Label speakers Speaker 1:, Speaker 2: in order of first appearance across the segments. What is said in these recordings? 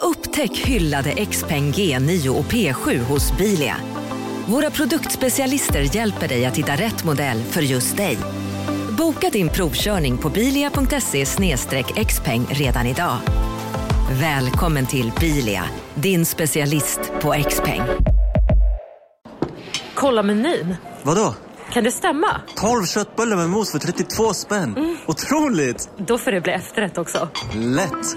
Speaker 1: Upptäck hyllade XPeng G9 och P7 hos Bilia. Våra produktspecialister hjälper dig att hitta rätt modell för just dig. Boka din provkörning på bilia.se xpeng redan idag. Välkommen till Bilia, din specialist på XPeng.
Speaker 2: Kolla menyn.
Speaker 3: Vadå?
Speaker 2: Kan det stämma?
Speaker 3: 12 köttbullar med mos för 32 spänn. Otroligt!
Speaker 2: Då får det bli efterrätt också.
Speaker 3: Lätt!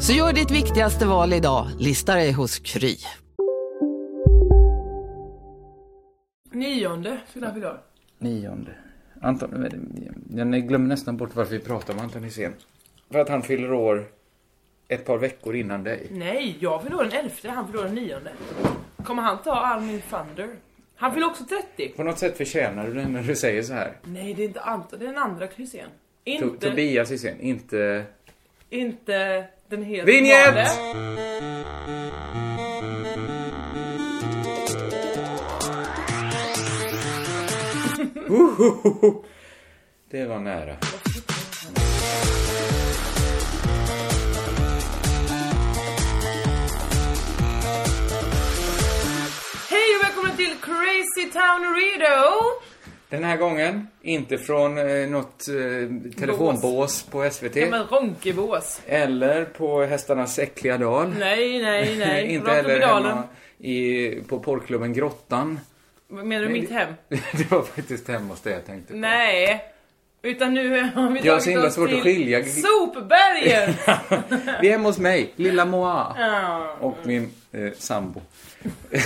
Speaker 4: Så gör ditt viktigaste val idag, listar dig hos Kry.
Speaker 5: Nionde fyller vi då.
Speaker 6: Nionde. Anton, jag glömmer nästan bort varför vi pratar om Anton Hysén. För att han fyller år ett par veckor innan dig.
Speaker 5: Nej, jag fyller år den elfte, han fyller år den nionde. Kommer han ta all min thunder? Han fyller också 30.
Speaker 6: På något sätt förtjänar du det när du säger så här.
Speaker 5: Nej, det är inte Anton, det är den andra Krysén.
Speaker 6: To-
Speaker 5: Inte,
Speaker 6: Tobias Hysén, inte...
Speaker 5: inte den helt
Speaker 6: Vinjett!
Speaker 5: normale.
Speaker 6: Det var nära.
Speaker 5: Hej och välkomna till Crazy Town Redo!
Speaker 6: Den här gången, inte från eh, något eh, telefonbås på SVT.
Speaker 5: Ja men ronkebås.
Speaker 6: Eller på Hästarnas äckliga dal.
Speaker 5: Nej, nej, nej.
Speaker 6: inte
Speaker 5: Rakt upp i
Speaker 6: heller
Speaker 5: dalen.
Speaker 6: hemma i, på porrklubben Grottan.
Speaker 5: Vad Menar du
Speaker 6: Nej,
Speaker 5: mitt
Speaker 6: det-
Speaker 5: hem?
Speaker 6: det var faktiskt hemma hos dig jag tänkte på.
Speaker 5: Nej. Utan nu har vi
Speaker 6: Jag har så
Speaker 5: tagit
Speaker 6: himla
Speaker 5: oss
Speaker 6: svårt att
Speaker 5: till
Speaker 6: skilja.
Speaker 5: Sopberget!
Speaker 6: Vi är hemma hos mig, lilla Moa.
Speaker 5: Ja.
Speaker 6: Och min eh, sambo.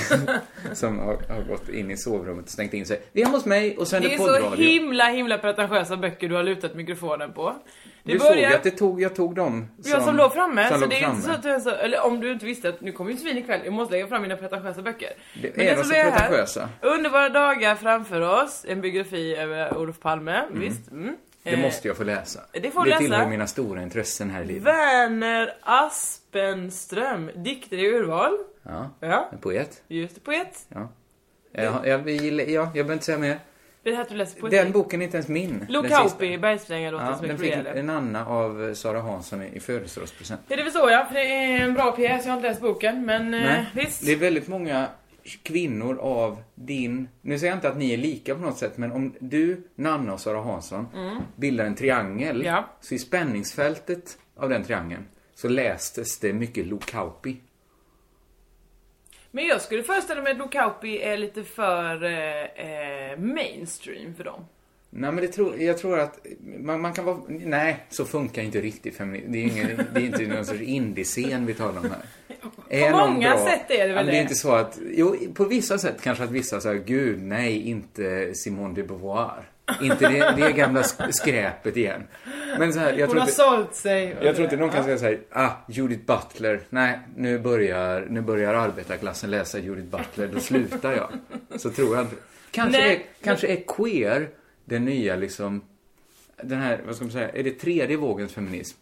Speaker 6: som har, har gått in i sovrummet och stängt in sig. Vi är hemma hos mig och
Speaker 5: Det
Speaker 6: sänder
Speaker 5: är så
Speaker 6: poddradio.
Speaker 5: himla himla pretentiösa böcker du har lutat mikrofonen på. Det
Speaker 6: Du såg ju att det tog, jag tog dem
Speaker 5: jag som låg framme,
Speaker 6: som
Speaker 5: så
Speaker 6: låg
Speaker 5: det är
Speaker 6: framme.
Speaker 5: inte så att du ens, eller om du inte visste att nu kommer ju svin ikväll, jag måste lägga fram mina pretentiösa böcker.
Speaker 6: Det
Speaker 5: Men
Speaker 6: är
Speaker 5: som
Speaker 6: de så
Speaker 5: är här,
Speaker 6: pretentiösa.
Speaker 5: Underbara dagar framför oss, en biografi över Olof Palme, visst. Mm.
Speaker 6: Det måste jag få läsa.
Speaker 5: det får du
Speaker 6: det
Speaker 5: läsa.
Speaker 6: tillhör mina stora intressen här i livet.
Speaker 5: Verner Aspenström, dikter i urval.
Speaker 6: Ja,
Speaker 5: Ja,
Speaker 6: en poet.
Speaker 5: just det, poet.
Speaker 6: Ja. Jag, jag, vill- ja, jag behöver inte säga mer.
Speaker 5: Det är här att du läser poesi.
Speaker 6: Den boken är inte ens min.
Speaker 5: Lo
Speaker 6: den
Speaker 5: Kauppi,
Speaker 6: sista.
Speaker 5: Bergsprängarlåten
Speaker 6: Ja,
Speaker 5: som är
Speaker 6: den fick
Speaker 5: kurerar.
Speaker 6: en Anna av eh, Sara Hansson i i födelsedagspresent.
Speaker 5: Ja, det förstår jag, för det är en bra pjäs, jag har inte läst boken, men eh,
Speaker 6: Nej,
Speaker 5: visst.
Speaker 6: det är väldigt många kvinnor av din... Nu säger jag inte att ni är lika på något sätt, men om du, Nanna och Sara Hansson bildar en triangel,
Speaker 5: Mm. Ja.
Speaker 6: så i spänningsfältet av den triangeln så lästes det mycket Lo Kauppi.
Speaker 5: Men jag skulle föreställa mig att Lo Kauppi är lite för eh, eh, mainstream för dem.
Speaker 6: Nej, men det tror, jag tror att man, man kan vara... Nej, så funkar inte riktigt feminism. Det är, ingen, det är inte någon sorts indiescen vi talar om här. Är
Speaker 5: På
Speaker 6: någon
Speaker 5: många sätt är det väl
Speaker 6: Ja, men det.
Speaker 5: det.
Speaker 6: är inte så att... Jo, på vissa sätt kanske att vissa säger gud, nej, inte Simone de Beauvoir. Inte det, det gamla sk- skräpet igen. Men så här, jag
Speaker 5: Hon
Speaker 6: tror
Speaker 5: har
Speaker 6: inte...
Speaker 5: sålt sig.
Speaker 6: Jag tror inte någon kan säga så här, ah, Judith Butler, nej, nu börjar, nu börjar arbetarklassen läsa Judith Butler, då slutar jag. Så tror jag inte. Kanske,
Speaker 5: Nej,
Speaker 6: är, kanske är queer den nya liksom, den här, vad ska man säga, är det tredje vågens feminism?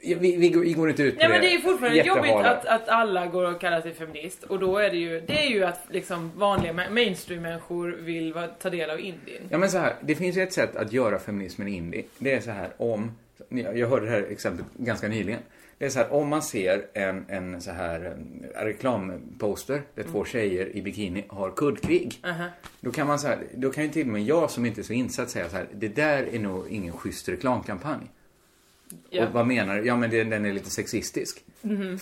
Speaker 6: Ja, Vi, vi, går- vi går inte ut på
Speaker 5: Nej men det är ju fortfarande
Speaker 6: jättehala.
Speaker 5: jobbigt att, att alla går och kallar sig feminist och då är det ju, det är ju att liksom vanliga ma- mainstream-människor vill va- ta del av indien.
Speaker 6: Ja men så här, det finns ju ett sätt att göra feminismen indie. Det är så här om, jag jag hörde det här exemplet ganska nyligen. Det är så här, om man ser en, en så här en reklamposter där två tjejer i bikini har kuddkrig. Då kan man så här, då kan ju till och med jag som inte är så insatt säga så här, det där är nog ingen schysst reklamkampanj.
Speaker 5: Ja. Mhm.
Speaker 6: Och vad menar du? Ja men det, den är lite sexistisk.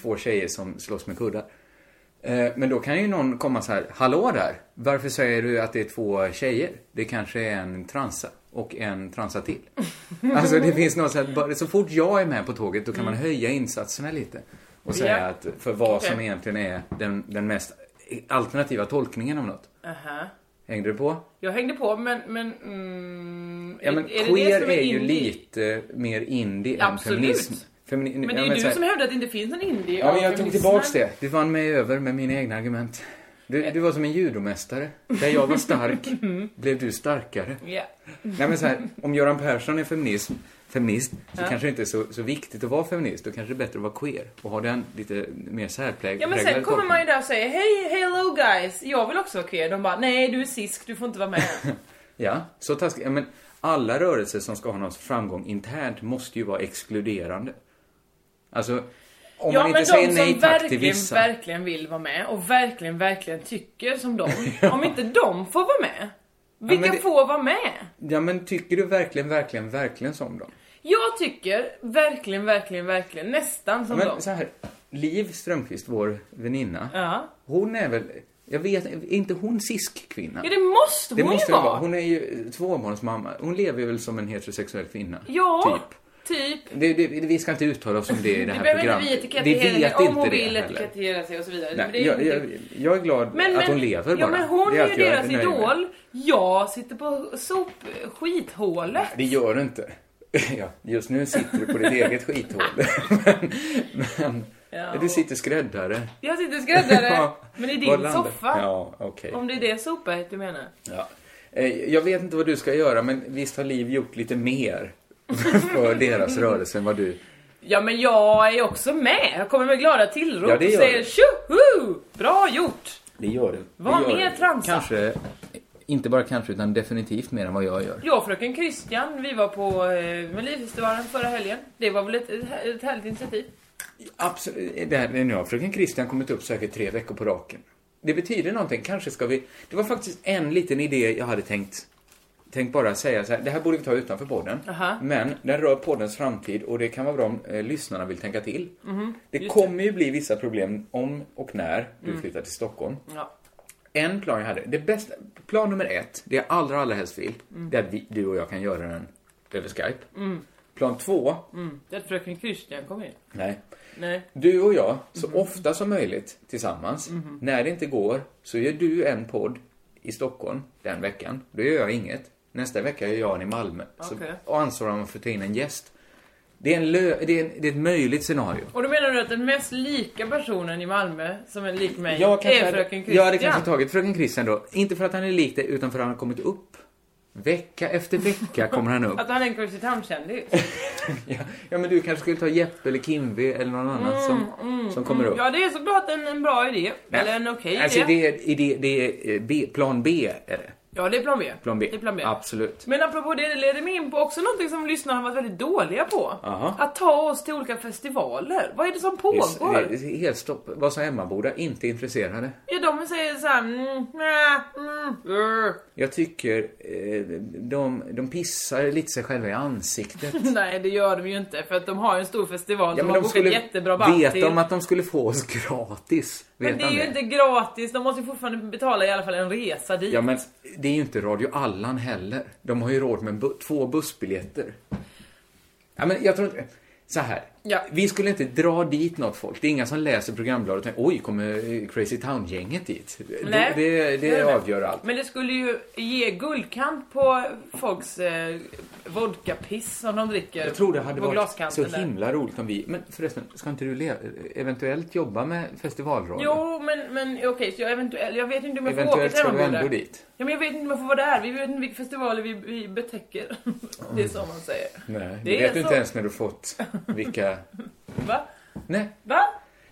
Speaker 6: Två tjejer som slåss med kuddar. Eh, Men då kan ju någon komma så här, hallå där, varför säger du att det är två tjejer? Det kanske är en transa och en transa till. Alltså det finns något så här, bara- så fort jag är med på tåget då kan man höja insatserna lite. Och säga
Speaker 5: Mm. Ja.
Speaker 6: att för vad som
Speaker 5: Okej.
Speaker 6: egentligen är den, den mest alternativa tolkningen av något.
Speaker 5: Aha.
Speaker 6: Hängde du på?
Speaker 5: Jag hängde på men, men, mm,
Speaker 6: Ja men
Speaker 5: är- är det det
Speaker 6: queer
Speaker 5: som
Speaker 6: är, ju
Speaker 5: indie?
Speaker 6: lite mer indie än
Speaker 5: Absolut.
Speaker 6: feminism. Femini-
Speaker 5: Men det
Speaker 6: jag
Speaker 5: är ju
Speaker 6: menar
Speaker 5: du
Speaker 6: så här-
Speaker 5: som hävdar att det inte finns någon indie
Speaker 6: Ja,
Speaker 5: av
Speaker 6: men jag tog
Speaker 5: feminismen.
Speaker 6: tillbaks det. Du vann mig över med mina egna argument. Du, du var som en judomästare. Där jag var stark blev du starkare.
Speaker 5: Mm. Ja.
Speaker 6: Nej, men så här, om Göran Persson är feminism, feminist så kanske det inte är så, så viktigt att vara feminist. Då kanske det är bättre att vara queer och ha den lite mer särpräglad.
Speaker 5: Ja men sen kommer man ju där och säger hej, hello guys, jag vill också vara queer. De bara nej du är sisk, du får inte vara med.
Speaker 6: Ja, så taskigt. Ja, men alla rörelser som ska ha någon framgång internt måste ju vara exkluderande. Alltså, om
Speaker 5: ja
Speaker 6: man
Speaker 5: men
Speaker 6: inte
Speaker 5: de
Speaker 6: säger nej
Speaker 5: som
Speaker 6: tack till
Speaker 5: verkligen,
Speaker 6: vissa.
Speaker 5: verkligen vill vara med och verkligen, verkligen tycker som dem. Om inte de får vara med, vilka
Speaker 6: det-
Speaker 5: får vara med?
Speaker 6: Ja, men tycker du verkligen, verkligen, verkligen som dem?
Speaker 5: Jag tycker verkligen, verkligen, verkligen nästan som dem.
Speaker 6: Men så här, Liv Strömqvist, vår väninna,
Speaker 5: Ja.
Speaker 6: hon är väl, jag vet är inte, hon sisk kvinna?
Speaker 5: Ja det måste hon
Speaker 6: det måste
Speaker 5: ju
Speaker 6: hon
Speaker 5: vara.
Speaker 6: vara. Hon är ju tvåbarnsmamma. Hon lever väl som en heterosexuell kvinna?
Speaker 5: Ja,
Speaker 6: Typ.
Speaker 5: typ.
Speaker 6: Det, det, vi ska inte uttala oss om det i det
Speaker 5: Det
Speaker 6: här
Speaker 5: behöver
Speaker 6: programmet.
Speaker 5: inte vi etikettera henne
Speaker 6: vet
Speaker 5: om
Speaker 6: inte
Speaker 5: hon
Speaker 6: det
Speaker 5: vill
Speaker 6: heller.
Speaker 5: etikettera sig och så vidare. Men det
Speaker 6: Nej,
Speaker 5: är
Speaker 6: jag,
Speaker 5: inte-
Speaker 6: jag, jag är glad
Speaker 5: Men-
Speaker 6: att
Speaker 5: men-
Speaker 6: hon lever bara.
Speaker 5: Ja men hon
Speaker 6: Det
Speaker 5: är
Speaker 6: allt
Speaker 5: ju
Speaker 6: jag
Speaker 5: deras
Speaker 6: nöjd med.
Speaker 5: idol. Jag sitter på sopskithålet.
Speaker 6: Det gör du inte. Ja, just nu sitter du på ditt eget skithål. men men
Speaker 5: Ja.
Speaker 6: du sitter skräddare.
Speaker 5: Jag sitter skräddare.
Speaker 6: Ja,
Speaker 5: men i
Speaker 6: var
Speaker 5: din
Speaker 6: landar-
Speaker 5: soffa.
Speaker 6: Ja, okej.
Speaker 5: Om det är det sopet du menar.
Speaker 6: Ja. Eh, Jag vet inte vad du ska göra, men visst har Liv gjort lite mer för deras rörelse än vad du...
Speaker 5: Ja men jag är också med. Jag kommer med glada tillrop
Speaker 6: Ja,
Speaker 5: och
Speaker 6: det gör
Speaker 5: säger
Speaker 6: du.
Speaker 5: tjoho! Bra gjort!
Speaker 6: Det gör du.
Speaker 5: Var mer transa.
Speaker 6: Kanske, inte bara kanske, utan definitivt mer än vad jag gör.
Speaker 5: Jag och fröken Christian, vi var på eh, Melodifestivalen förra helgen. Det var väl ett, ett härligt initiativ?
Speaker 6: Absolut. Det här, nu har fröken Christian kommit upp säkert tre veckor på raken. Det betyder någonting. Kanske ska vi... Det var faktiskt en liten idé jag hade tänkt. Tänk bara säga så här, det här borde vi ta utanför podden.
Speaker 5: Aha.
Speaker 6: Men den rör poddens framtid och det kan vara bra om eh, lyssnarna vill tänka till. det kommer ju bli vissa problem om och när du flyttar till Stockholm.
Speaker 5: Ja.
Speaker 6: En plan jag hade, det bästa, plan nummer ett, det jag allra, allra helst vill, det är att vi, du och jag kan göra den över Skype. Plan två,
Speaker 5: Det är Mm. att fröken Christian kom in.
Speaker 6: nej,
Speaker 5: Nej.
Speaker 6: du och jag, så
Speaker 5: Mhm.
Speaker 6: ofta som möjligt tillsammans. När det inte går, så gör du en podd i Stockholm den veckan. Då gör jag inget. Nästa vecka gör jag en i Malmö.
Speaker 5: Okej.
Speaker 6: Så, och ansvarar om att ta in en gäst. Det är, en lö, det, är en, det är ett möjligt scenario.
Speaker 5: Och då menar du att den mest lika personen i Malmö som är lik mig är
Speaker 6: hade-
Speaker 5: fröken Christian?
Speaker 6: jag hade kanske tagit fröken Christian då. Inte för att han är lik dig, utan för att han har kommit upp. Vecka efter vecka kommer han upp.
Speaker 5: Att han är en Kungshamnskändis?
Speaker 6: ja, ja, men du kanske skulle ta Jeppe eller Kimby eller någon annan som, som kommer upp.
Speaker 5: Mm, Ja, det är såklart en, en bra idé. Eller en okej
Speaker 6: alltså,
Speaker 5: idé.
Speaker 6: det är, det är, det är eh, B, plan B är det.
Speaker 5: Ja, det är plan B.
Speaker 6: Plan B.
Speaker 5: Det är plan B.
Speaker 6: Absolut.
Speaker 5: Men apropå det, det leder mig in på också någonting som lyssnarna har varit väldigt dåliga på.
Speaker 6: Aha.
Speaker 5: Att ta oss till olika festivaler. Vad är det som
Speaker 6: Det är-
Speaker 5: pågår?
Speaker 6: det är eh, Helt stopp. Vad sa Emmaboda? Inte intresserade.
Speaker 5: Ja, de säger såhär... Mm, nä, mm, uh.
Speaker 6: Jag tycker eh, de, de pissar lite sig själva i ansiktet.
Speaker 5: Nej, det gör de ju inte. För att de har ju en stor festival som
Speaker 6: men
Speaker 5: har bokat jättebra band
Speaker 6: vet
Speaker 5: till.
Speaker 6: de att de skulle få oss gratis? Vet
Speaker 5: Men det är
Speaker 6: han
Speaker 5: ju inte gratis. De måste ju fortfarande betala i alla fall en resa dit.
Speaker 6: Ja, men det är ju inte Radio Allan heller. De har ju råd med bu två bussbiljetter. Ja, men jag tror inte... Så här.
Speaker 5: Ja.
Speaker 6: Vi skulle inte dra dit något folk. Det är inga som läser programbladet och tänker oj, kommer eh, Crazy Town-gänget dit?
Speaker 5: Nej,
Speaker 6: det det,
Speaker 5: är
Speaker 6: det
Speaker 5: det.
Speaker 6: avgör allt.
Speaker 5: Men det skulle ju ge guldkant på folks eh, vodkapiss som de dricker
Speaker 6: Jag tror det hade
Speaker 5: på
Speaker 6: varit så
Speaker 5: glaskanten där.
Speaker 6: himla roligt om vi... Men förresten, ska inte du le- eventuellt jobba med festivalradio?
Speaker 5: Jo, men, men okej, så jag eventuellt, jag vet inte om jag får åka
Speaker 6: Eventuellt
Speaker 5: till
Speaker 6: ska du
Speaker 5: Emmaboda.
Speaker 6: ändå dit.
Speaker 5: Ja, men jag vet inte om jag får vara där. Vi vet inte vilka festivaler vi, vi betäcker. Det är så man säger.
Speaker 6: Mm. Nej,
Speaker 5: Det
Speaker 6: du
Speaker 5: är
Speaker 6: vet
Speaker 5: så.
Speaker 6: inte ens när du fått vilka...
Speaker 5: Va?
Speaker 6: Nej.
Speaker 5: Va?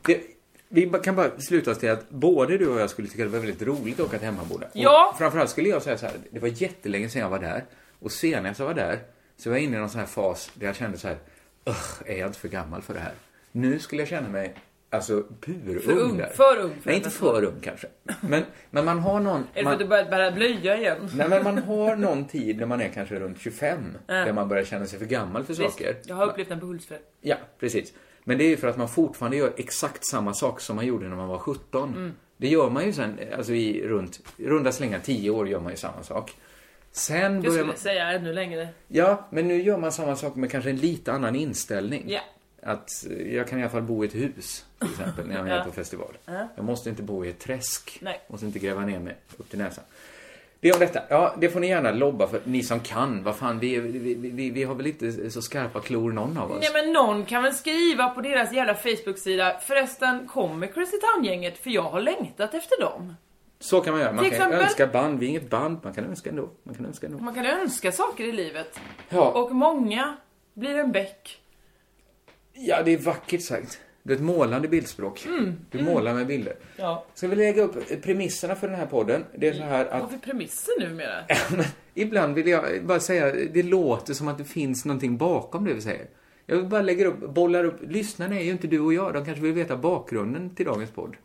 Speaker 6: Det, vi ba- kan bara sluta oss till att både du och jag skulle tycka det var väldigt roligt att åka till Hemmaboda. Och
Speaker 5: Ja.
Speaker 6: Framförallt skulle jag säga så här, det var jättelänge sedan jag var där. Och senast jag var där så var jag inne i någon sån här fas där jag kände så här, "Ugh, är jag inte för gammal för det här? Nu skulle jag känna mig, alltså purung
Speaker 5: För ung,
Speaker 6: där.
Speaker 5: för ung för
Speaker 6: Nej,
Speaker 5: detta.
Speaker 6: inte för ung kanske. Men, men man har någon...
Speaker 5: Är det för
Speaker 6: man,
Speaker 5: att du börjat bära blöja igen?
Speaker 6: Nej, men man har någon tid när man är kanske runt 25, där man börjar känna sig för gammal för saker.
Speaker 5: Visst, Jag har upplevt den på Hultsfred.
Speaker 6: Ja, precis. Men det är ju för att man fortfarande gör exakt samma sak som man gjorde när man var 17.
Speaker 5: Mm.
Speaker 6: Det gör man ju sen, alltså i runt, runda slängar 10 år gör man ju samma sak. Sen
Speaker 5: Jag
Speaker 6: börjar
Speaker 5: skulle
Speaker 6: man,
Speaker 5: säga ännu längre.
Speaker 6: ja, men nu gör man samma sak med kanske en lite annan inställning.
Speaker 5: Ja.
Speaker 6: Att eh, jag kan i alla fall bo i ett hus, till exempel, när jag är
Speaker 5: Ja.
Speaker 6: på festival. Jag måste inte bo i ett träsk.
Speaker 5: Nej.
Speaker 6: Måste inte gräva ner mig upp till näsan. Det är om detta. Ja, det får ni gärna lobba för, ni som kan. Vad fan, vi, vi, vi, vi har väl inte så skarpa klor någon av oss.
Speaker 5: Nej men någon kan väl skriva på deras jävla Facebook-sida Förresten, kommer Crazy Town-gänget? För jag har längtat efter dem.
Speaker 6: Så kan man göra. Man
Speaker 5: Till
Speaker 6: kan
Speaker 5: exempel-
Speaker 6: önska band. Vi är inget band. Man kan önska ändå. Man kan önska ändå.
Speaker 5: Man kan önska saker i livet.
Speaker 6: Ja.
Speaker 5: Och många blir en bäck.
Speaker 6: Ja, det är vackert sagt. Det är ett målande bildspråk. Du målar med bilder.
Speaker 5: Mm. Ja.
Speaker 6: Ska vi lägga upp premisserna för den här podden? Det är så här att
Speaker 5: Varför premisser numera?
Speaker 6: Ibland vill jag bara säga, det låter som att det finns någonting bakom det vi säger. Jag vill bara lägger upp, bollar upp. Lyssnarna är ju inte du och jag. De kanske vill veta bakgrunden till dagens podd.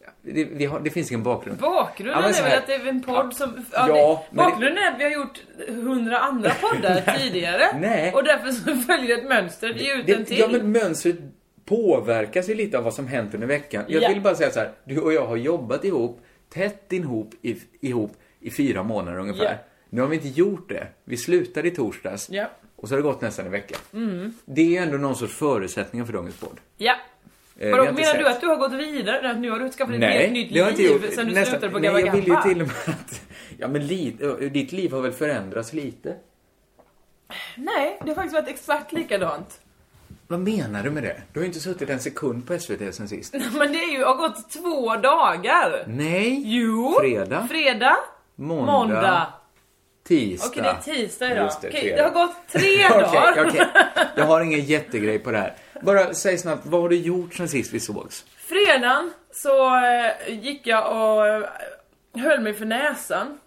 Speaker 6: Ja, Det, vi har, det finns ingen bakgrund.
Speaker 5: Bakgrunden
Speaker 6: Ja, men så
Speaker 5: är väl
Speaker 6: här-
Speaker 5: att det är en podd som...
Speaker 6: Ja,
Speaker 5: Ja, det,
Speaker 6: men det-
Speaker 5: bakgrunden är att vi har gjort hundra andra poddar tidigare.
Speaker 6: nej.
Speaker 5: Och därför så följer ett mönster. Ge ut en
Speaker 6: Det,
Speaker 5: till.
Speaker 6: ja, men mönstret påverkas ju lite av vad som hänt under veckan. Jag
Speaker 5: Ja.
Speaker 6: vill bara säga så här, du och jag har jobbat ihop, tätt ihop, i, ihop i fyra månader ungefär.
Speaker 5: Ja.
Speaker 6: Nu har vi inte gjort det. Vi slutade i torsdags
Speaker 5: Ja. Mm.
Speaker 6: och så har det gått nästan en vecka. Det är ändå någon sorts förutsättningar för dagens podd.
Speaker 5: Ja.
Speaker 6: Eh,
Speaker 5: Vadå,
Speaker 6: vi har inte
Speaker 5: menar
Speaker 6: sett.
Speaker 5: du att du har gått vidare? Att nu har du skaffat ett helt
Speaker 6: Nej,
Speaker 5: nytt
Speaker 6: det har jag inte gjort.
Speaker 5: liv sen du
Speaker 6: Nästan-
Speaker 5: slutade på
Speaker 6: Nej,
Speaker 5: Gabba
Speaker 6: jag vill ju
Speaker 5: Gabba?
Speaker 6: till och med att... Ja, men li, ö, ditt liv har väl förändrats lite?
Speaker 5: Nej, det har faktiskt varit exakt likadant.
Speaker 6: Vad menar du med det? Du har ju inte suttit en sekund på SVT sen sist.
Speaker 5: Men det är ju, har gått två dagar.
Speaker 6: Nej,
Speaker 5: Jo.
Speaker 6: Fredag.
Speaker 5: Fredag.
Speaker 6: måndag,
Speaker 5: Måndag.
Speaker 6: tisdag.
Speaker 5: Okej, det är tisdag idag.
Speaker 6: Just det,
Speaker 5: Okej,
Speaker 6: fredag.
Speaker 5: det har gått tre dagar.
Speaker 6: Okej, okej. Jag har ingen jättegrej på det här. Bara säg snabbt, vad har du gjort sen sist vi sågs?
Speaker 5: Fredagen så eh, gick jag och eh, höll mig för näsan.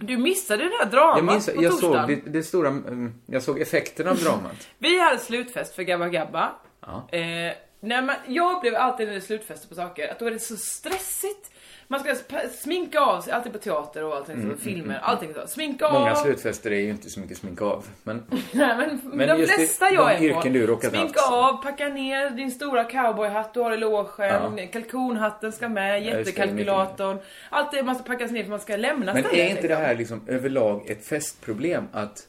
Speaker 5: Du missade det där dramat
Speaker 6: Mm. Jag, minns,
Speaker 5: på
Speaker 6: jag,
Speaker 5: torsdagen.
Speaker 6: såg, det, det stora, mm, jag såg effekten av dramat.
Speaker 5: Vi hade slutfest för Gabba Gabba.
Speaker 6: Ja.
Speaker 5: Eh, när man, jag blev alltid när det är slutfester på saker, att då är det så stressigt. Man ska sp- sminka av sig, alltid på teater och
Speaker 6: Mm,
Speaker 5: allting, så, filmer, allting så. Sminka
Speaker 6: Många
Speaker 5: av.
Speaker 6: slutfester är ju inte så mycket smink av, men
Speaker 5: Nej, men,
Speaker 6: Men
Speaker 5: de
Speaker 6: just det-
Speaker 5: flesta
Speaker 6: de
Speaker 5: jag är på.
Speaker 6: yrken du råkat
Speaker 5: Sminka
Speaker 6: haft.
Speaker 5: av, packa ner din stora cowboyhatt du har i logen, kalkonhatten ska med,
Speaker 6: just det,
Speaker 5: jättekalkylatorn. Allt det måste packas ner för man ska lämna
Speaker 6: Men
Speaker 5: stället,
Speaker 6: är inte det här liksom överlag ett festproblem att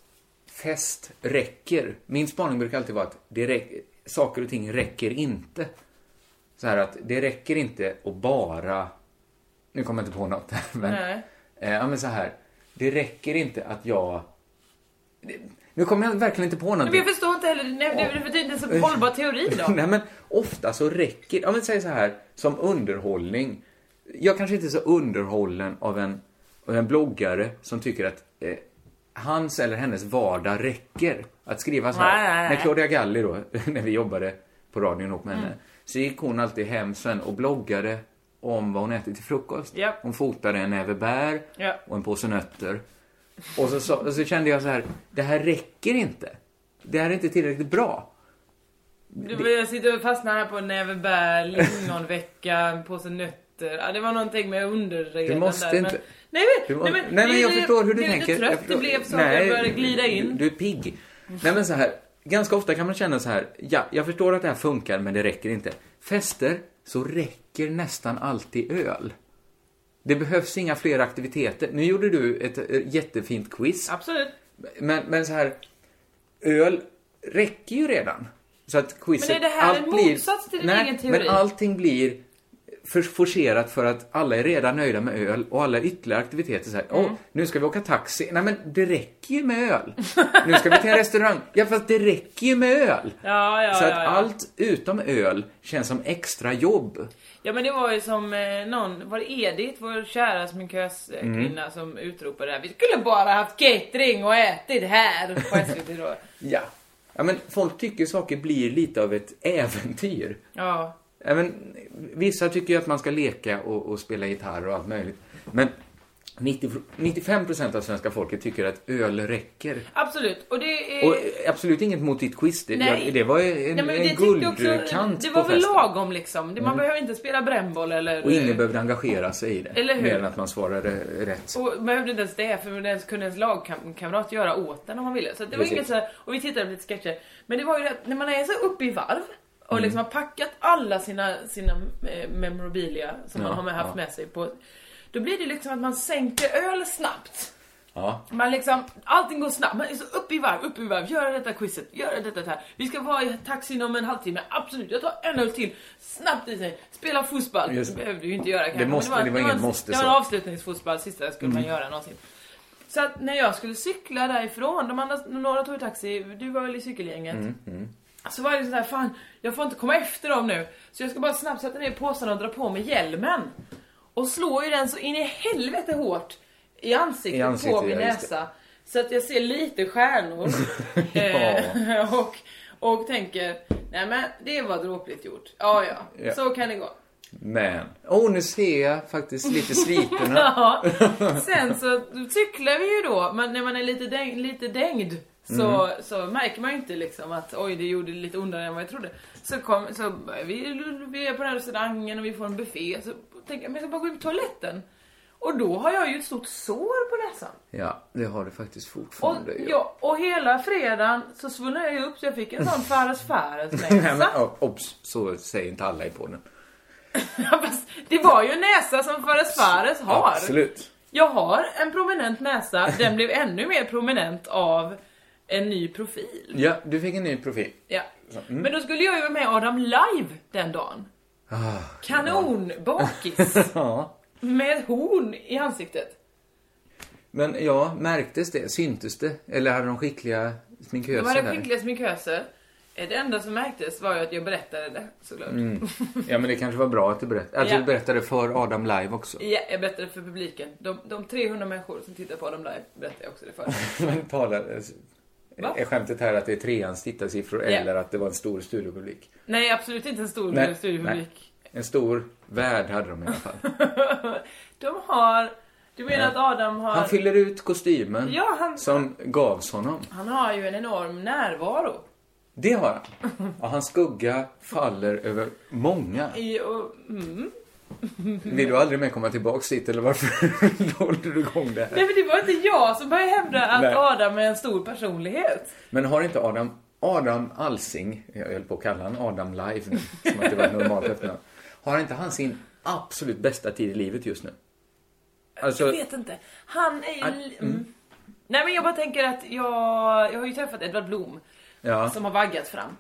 Speaker 6: fest räcker? Min spaning brukar alltid vara att det räck, saker och ting räcker inte. Så här att det räcker inte att bara... Nu kommer jag inte på något. Men,
Speaker 5: Nej.
Speaker 6: Eh, ja, men så här. Det räcker inte att jag... Det- Nu kommer jag verkligen inte på
Speaker 5: Men
Speaker 6: någonting.
Speaker 5: jag förstår inte heller, nej, det, det är inte en så hållbar teori då.
Speaker 6: Nej, men ofta så räcker... Ja, men säg så här, som underhållning. Jag kanske inte är så underhållen av en, av en bloggare som tycker att eh, hans eller hennes vardag räcker. Att skriva så här.
Speaker 5: Nej, nej, Mm. nej.
Speaker 6: När Claudia Galli då, när vi jobbade på radion ihop med henne, så gick hon alltid hem sen och bloggade om vad hon ätit till frukost.
Speaker 5: Japp.
Speaker 6: Hon fotade en näve bär
Speaker 5: Ja.
Speaker 6: och en påse nötter. Och så, så, och så kände jag så här, det här räcker inte. Det här är inte tillräckligt bra.
Speaker 5: Du, jag sitter och fastnar här på en näve bär, lingonvecka, en påse nötter. Ja, det var någonting med underreden
Speaker 6: Du måste
Speaker 5: där,
Speaker 6: inte-
Speaker 5: Men, nej,
Speaker 6: Du
Speaker 5: men,
Speaker 6: må-
Speaker 5: nej, men,
Speaker 6: nej, men jag
Speaker 5: det-
Speaker 6: förstår hur du
Speaker 5: det- det
Speaker 6: tänker.
Speaker 5: Trött,
Speaker 6: jag förstår.
Speaker 5: Det blev så att jag började glida in.
Speaker 6: Du är pigg. Nej, men så här. Ganska ofta kan man känna så här. Ja, jag förstår att det här funkar, men det räcker inte. Fester så räcker nästan alltid öl. Det behövs inga fler aktiviteter. Nu gjorde du ett eh, jättefint quiz.
Speaker 5: Absolut.
Speaker 6: Men, men så här, öl räcker ju redan. Så att quizet,
Speaker 5: Men är det här
Speaker 6: allt
Speaker 5: en
Speaker 6: blir-
Speaker 5: motsats till din
Speaker 6: Nej,
Speaker 5: egen teori?
Speaker 6: men allting blir för forcerat för att alla är redan nöjda med öl och alla ytterligare aktiviteter så här, åh,
Speaker 5: Mm.
Speaker 6: nu ska vi åka taxi. Nej men det räcker ju med öl. nu ska vi till en restaurang. Ja fast det räcker ju med öl.
Speaker 5: Ja, ja,
Speaker 6: så att
Speaker 5: ja, ja.
Speaker 6: allt utom öl känns som extra jobb.
Speaker 5: Ja men det var ju som eh, någon, var det Edith, vår kära sminkös eh,
Speaker 6: Mm.
Speaker 5: kvinna som utropade det här. Vi skulle bara haft catering och ätit här på SVT då.
Speaker 6: Ja. Ja men folk tycker saker blir lite av ett äventyr.
Speaker 5: Ja.
Speaker 6: Ja, men, vissa tycker ju att man ska leka och, och spela gitarr och allt möjligt. Men 90, 95% av svenska folket tycker att öl räcker.
Speaker 5: Absolut. Och det är...
Speaker 6: Och eh, absolut inget mot ditt quiz. Det,
Speaker 5: Nej.
Speaker 6: jag, det var ju en,
Speaker 5: Nej, men
Speaker 6: en
Speaker 5: det tyckte jag
Speaker 6: guldkant
Speaker 5: Det
Speaker 6: på
Speaker 5: var väl
Speaker 6: festen. Mm.
Speaker 5: lagom liksom. Det- Man behöver inte spela brännboll eller...
Speaker 6: Och ingen behövde engagera sig i det.
Speaker 5: Eller hur?
Speaker 6: Mer än att man svarade rätt.
Speaker 5: Och behövde inte ens det, för det ens, kunde ens lagkamrat göra åt den om man ville. Så det var
Speaker 6: Precis.
Speaker 5: inget så här, och vi tittade på lite sketcher. Men det var ju det att när man är så uppe i varv och
Speaker 6: Mm.
Speaker 5: liksom har packat alla sina, sina eh, memorabilia som
Speaker 6: Ja,
Speaker 5: man har med, haft
Speaker 6: ja.
Speaker 5: med sig på. Då blir det liksom att man sänker öl snabbt.
Speaker 6: Ja.
Speaker 5: Man liksom, allting går snabbt, man är så upp i varv, upp i varv, göra detta quizet, göra detta det här. Vi ska vara i taxin om en halvtimme, absolut, jag tar en öl till, snabbt i sig, spela fotboll.
Speaker 6: Just det.
Speaker 5: Det behövde du ju inte göra kanske. men
Speaker 6: måste- det var
Speaker 5: en-
Speaker 6: ingen måste
Speaker 5: Det var
Speaker 6: så. Mm.
Speaker 5: en avslutningsfotboll, sista skulle man göra någonsin. Så att när jag skulle cykla därifrån, de andra, några tog ju taxi, du var väl i cykelgänget?
Speaker 6: Mm.
Speaker 5: Så var det såhär, fan jag får inte komma efter dem nu. Så jag ska bara snabbt sätta ner påsen och dra på mig hjälmen. Och slår ju den så in i helvete hårt i ansiktet,
Speaker 6: I ansiktet,
Speaker 5: på min
Speaker 6: ja, just det.
Speaker 5: näsa. Så att jag ser lite stjärnor.
Speaker 6: Ja.
Speaker 5: Eh, och, och tänker, nej men det var dråpligt gjort. Ja, ja,
Speaker 6: Ja.
Speaker 5: så kan det gå.
Speaker 6: Men, åh oh, nu ser jag faktiskt lite sviterna.
Speaker 5: Ja. Sen så cyklar vi ju då, men när man är lite, däng, lite dängd så,
Speaker 6: Mm.
Speaker 5: så märker man ju inte liksom att oj det gjorde lite ondare än vad jag trodde. Så, kom, så börjar vi, vi är på den här restaurangen och vi får en buffé. Så tänker jag, men jag ska bara gå ut på toaletten. Och då har jag ju ett stort sår på näsan.
Speaker 6: Ja, det har du faktiskt
Speaker 5: Och,
Speaker 6: fortfarande. ju.
Speaker 5: ja, och hela fredagen så svullnade jag ju upp så jag fick en sån Fares
Speaker 6: Nej, men,
Speaker 5: Fares-näsa.
Speaker 6: oh, obs, så säger inte alla i podden.
Speaker 5: Fast det var ju en näsa som Fares Fares har.
Speaker 6: Absolut.
Speaker 5: Jag har en prominent näsa, den blev ännu mer prominent av en ny profil.
Speaker 6: Ja, du fick en ny profil.
Speaker 5: Ja.
Speaker 6: mm.
Speaker 5: Men då skulle jag ju vara med Adam live den dagen. Kanonbakis!
Speaker 6: Ah, Ja.
Speaker 5: med ett horn i ansiktet.
Speaker 6: Men ja, märktes det? Syntes det? Eller hade de skickliga
Speaker 5: Det
Speaker 6: sminköser
Speaker 5: var det
Speaker 6: där?
Speaker 5: skickliga sminköser. Eh, Det enda som märktes var ju att jag berättade det såklart.
Speaker 6: Mm. Ja, men det kanske var bra att du berättade. Att
Speaker 5: Ja.
Speaker 6: du berättade för Adam live också.
Speaker 5: Ja, jag berättade för publiken. De, de 300 människor som tittar på Adam live berättade jag också det för.
Speaker 6: Men talar... alltså,
Speaker 5: Va?
Speaker 6: Är skämtet här att det är treans tittarsiffror
Speaker 5: Ja.
Speaker 6: eller att det var en stor studiopublik?
Speaker 5: Nej, absolut inte en stor
Speaker 6: Nej,
Speaker 5: studiopublik.
Speaker 6: En stor värld hade de i alla fall.
Speaker 5: De har... Du menar att Adam har...
Speaker 6: Han fyller ut kostymen
Speaker 5: Ja, han-
Speaker 6: som gavs honom.
Speaker 5: Han har ju en enorm närvaro.
Speaker 6: Det har han. Och hans skugga faller över många.
Speaker 5: I, och, mm.
Speaker 6: Vill du aldrig mer komma tillbaks dit eller varför håller du igång det här?
Speaker 5: Nej men det var inte jag som började hävda att
Speaker 6: Nej.
Speaker 5: Adam är en stor personlighet.
Speaker 6: Men har inte Adam, Adam Alsing, jag höll på att kalla han Adam Live nu, som att det var ett normalt efternamn. Har inte han sin absolut bästa tid i livet just nu?
Speaker 5: Jag
Speaker 6: Alltså,
Speaker 5: vet inte. Han är ju...
Speaker 6: Att-
Speaker 5: Mm. Nej men jag bara tänker att jag, jag har ju träffat Edvard Blom
Speaker 6: ja.
Speaker 5: som har vaggat fram.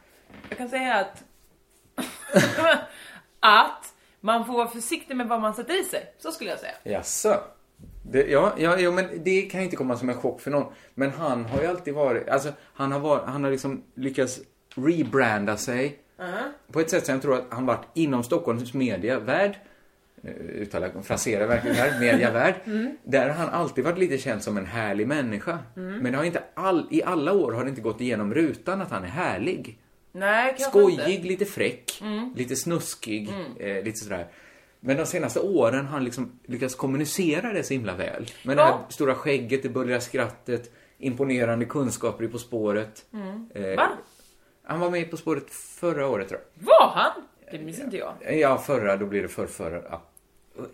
Speaker 5: Jag kan säga att... att man får vara försiktig med vad man sätter i sig. Så skulle jag säga.
Speaker 6: Jaså? Det, ja, ja, ja, men det kan inte komma som en chock för någon. Men han har ju alltid varit, alltså han har, var, han har liksom lyckats rebranda sig. På ett sätt som jag tror att han varit inom Stockholms mediavärld. Nu uttalar jag, fraserar verkligen här, mediavärd. Där har han alltid varit lite känd som en härlig människa. Men det har inte all, i alla år har det inte gått igenom rutan att han är härlig.
Speaker 5: Nej kanske
Speaker 6: Skojig,
Speaker 5: inte. Mm.
Speaker 6: lite fräck, lite snuskig, eh, lite sådär. Men de senaste åren har han liksom lyckats kommunicera det så himla väl. Med det
Speaker 5: Ja.
Speaker 6: här stora skägget, det bullriga skrattet, imponerande kunskaper i På spåret. Eh,
Speaker 5: Mm. Va?
Speaker 6: Han var med i På spåret förra året tror
Speaker 5: Var han? Det minns inte jag.
Speaker 6: jag. Ja, förra, då blir det förrförra. Ja.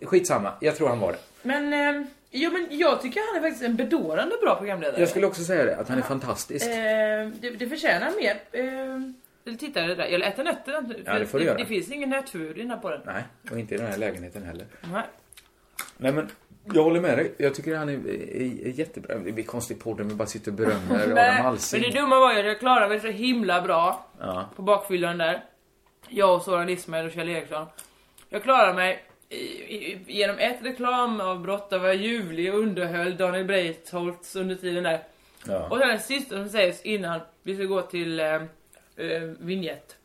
Speaker 6: Skitsamma, jag tror han var det.
Speaker 5: Men, eh, jo, men jag tycker han är faktiskt en bedårande bra programledare.
Speaker 6: Jag skulle också säga det, att han är fantastisk.
Speaker 5: Eh, det, det förtjänar mer. Eh, eller titta det där. Eller äta nötter.
Speaker 6: Ja, det får du
Speaker 5: det,
Speaker 6: göra.
Speaker 5: det finns ingen nötfur i den här podden.
Speaker 6: Nej, och inte i den här lägenheten heller.
Speaker 5: Nej.
Speaker 6: Nej men, jag håller med dig. Jag tycker han är, är, är jättebra. Det blir konstigt podden vi bara sitter och berömmer Adam
Speaker 5: Men,
Speaker 6: Alsing.
Speaker 5: men det dumma var ju att jag klarade mig så himla bra
Speaker 6: Ja.
Speaker 5: på bakfyllan där. Jag och Soran Ismail och Kjell Eriksson. Jag klarade mig i, i, genom ett reklamavbrott där var jag ljuvlig och underhöll Daniel Breitholtz under tiden där.
Speaker 6: Ja.
Speaker 5: Och sen den sista som sägs innan vi ska gå till eh, eh, vignett.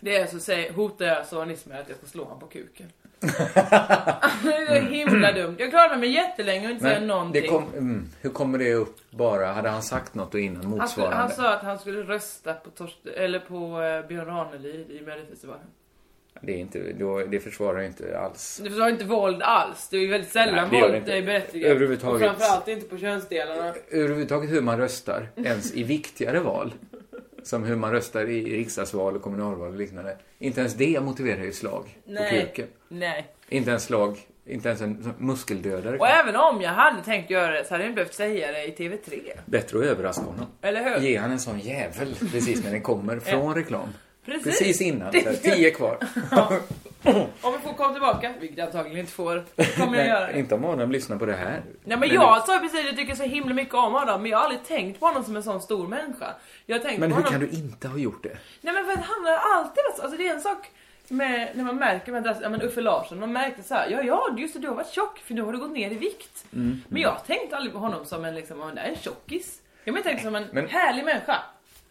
Speaker 5: Det är så säger, hotar jag Soran Ismail att jag ska slå honom på kuken. Alltså, det är så himla dumt. Jag klarade mig jättelänge och inte säga
Speaker 6: Mm. Men
Speaker 5: någonting.
Speaker 6: det kom, mm, hur kommer det upp bara? Hade han sagt något då innan
Speaker 5: han, skulle,
Speaker 6: motsvarande?
Speaker 5: Alltså, han sa att han skulle rösta på, Torst, eller på eh, Björn Ranelid i Melodifestivalen.
Speaker 6: Det, är inte, då, det försvarar jag inte alls.
Speaker 5: Det var inte våld alls. Det är ju väldigt
Speaker 6: Nej,
Speaker 5: sällan
Speaker 6: det gör det
Speaker 5: våld
Speaker 6: inte.
Speaker 5: är berättigat.
Speaker 6: Överhuvudtaget.
Speaker 5: Och framförallt inte på könsdelarna.
Speaker 6: Överhuvudtaget hur man röstar, ens i viktigare val. Som hur man röstar i riksdagsval och kommunalval och liknande. Inte ens det motiverar ju slag på
Speaker 5: Nej.
Speaker 6: kuken.
Speaker 5: Nej.
Speaker 6: Inte ens slag, inte ens en muskeldödare.
Speaker 5: Och även om jag hade tänkt göra det så hade jag inte behövt säga det i TV3.
Speaker 6: Bättre att överraska honom.
Speaker 5: Eller hur?
Speaker 6: Ge han en sån jävel precis när den kommer från reklam.
Speaker 5: Precis.
Speaker 6: Precis innan,
Speaker 5: Det-
Speaker 6: så här, tio kvar.
Speaker 5: Om vi får komma tillbaka, vilket jag antagligen inte får, kommer jag göra det.
Speaker 6: inte om Adam lyssnar på det här.
Speaker 5: Nej men jag sa ju precis att jag tycker så himla mycket om honom, men jag har aldrig tänkt på honom som en sån stor människa. Jag har tänkt
Speaker 6: Men
Speaker 5: på
Speaker 6: hur
Speaker 5: honom...
Speaker 6: kan du inte ha gjort det?
Speaker 5: Nej men för att han har alltid varit så- alltså det är en sak... med, när man märker med, ja, men Uffe Larsson, man märkte så här, ja ja just det du har varit tjock för nu har du gått ner i vikt.
Speaker 6: Mm,
Speaker 5: Men jag tänkte aldrig på honom som en liksom, ja, men det här är en tjockis. Jag men tänkte som en
Speaker 6: Men-
Speaker 5: härlig människa.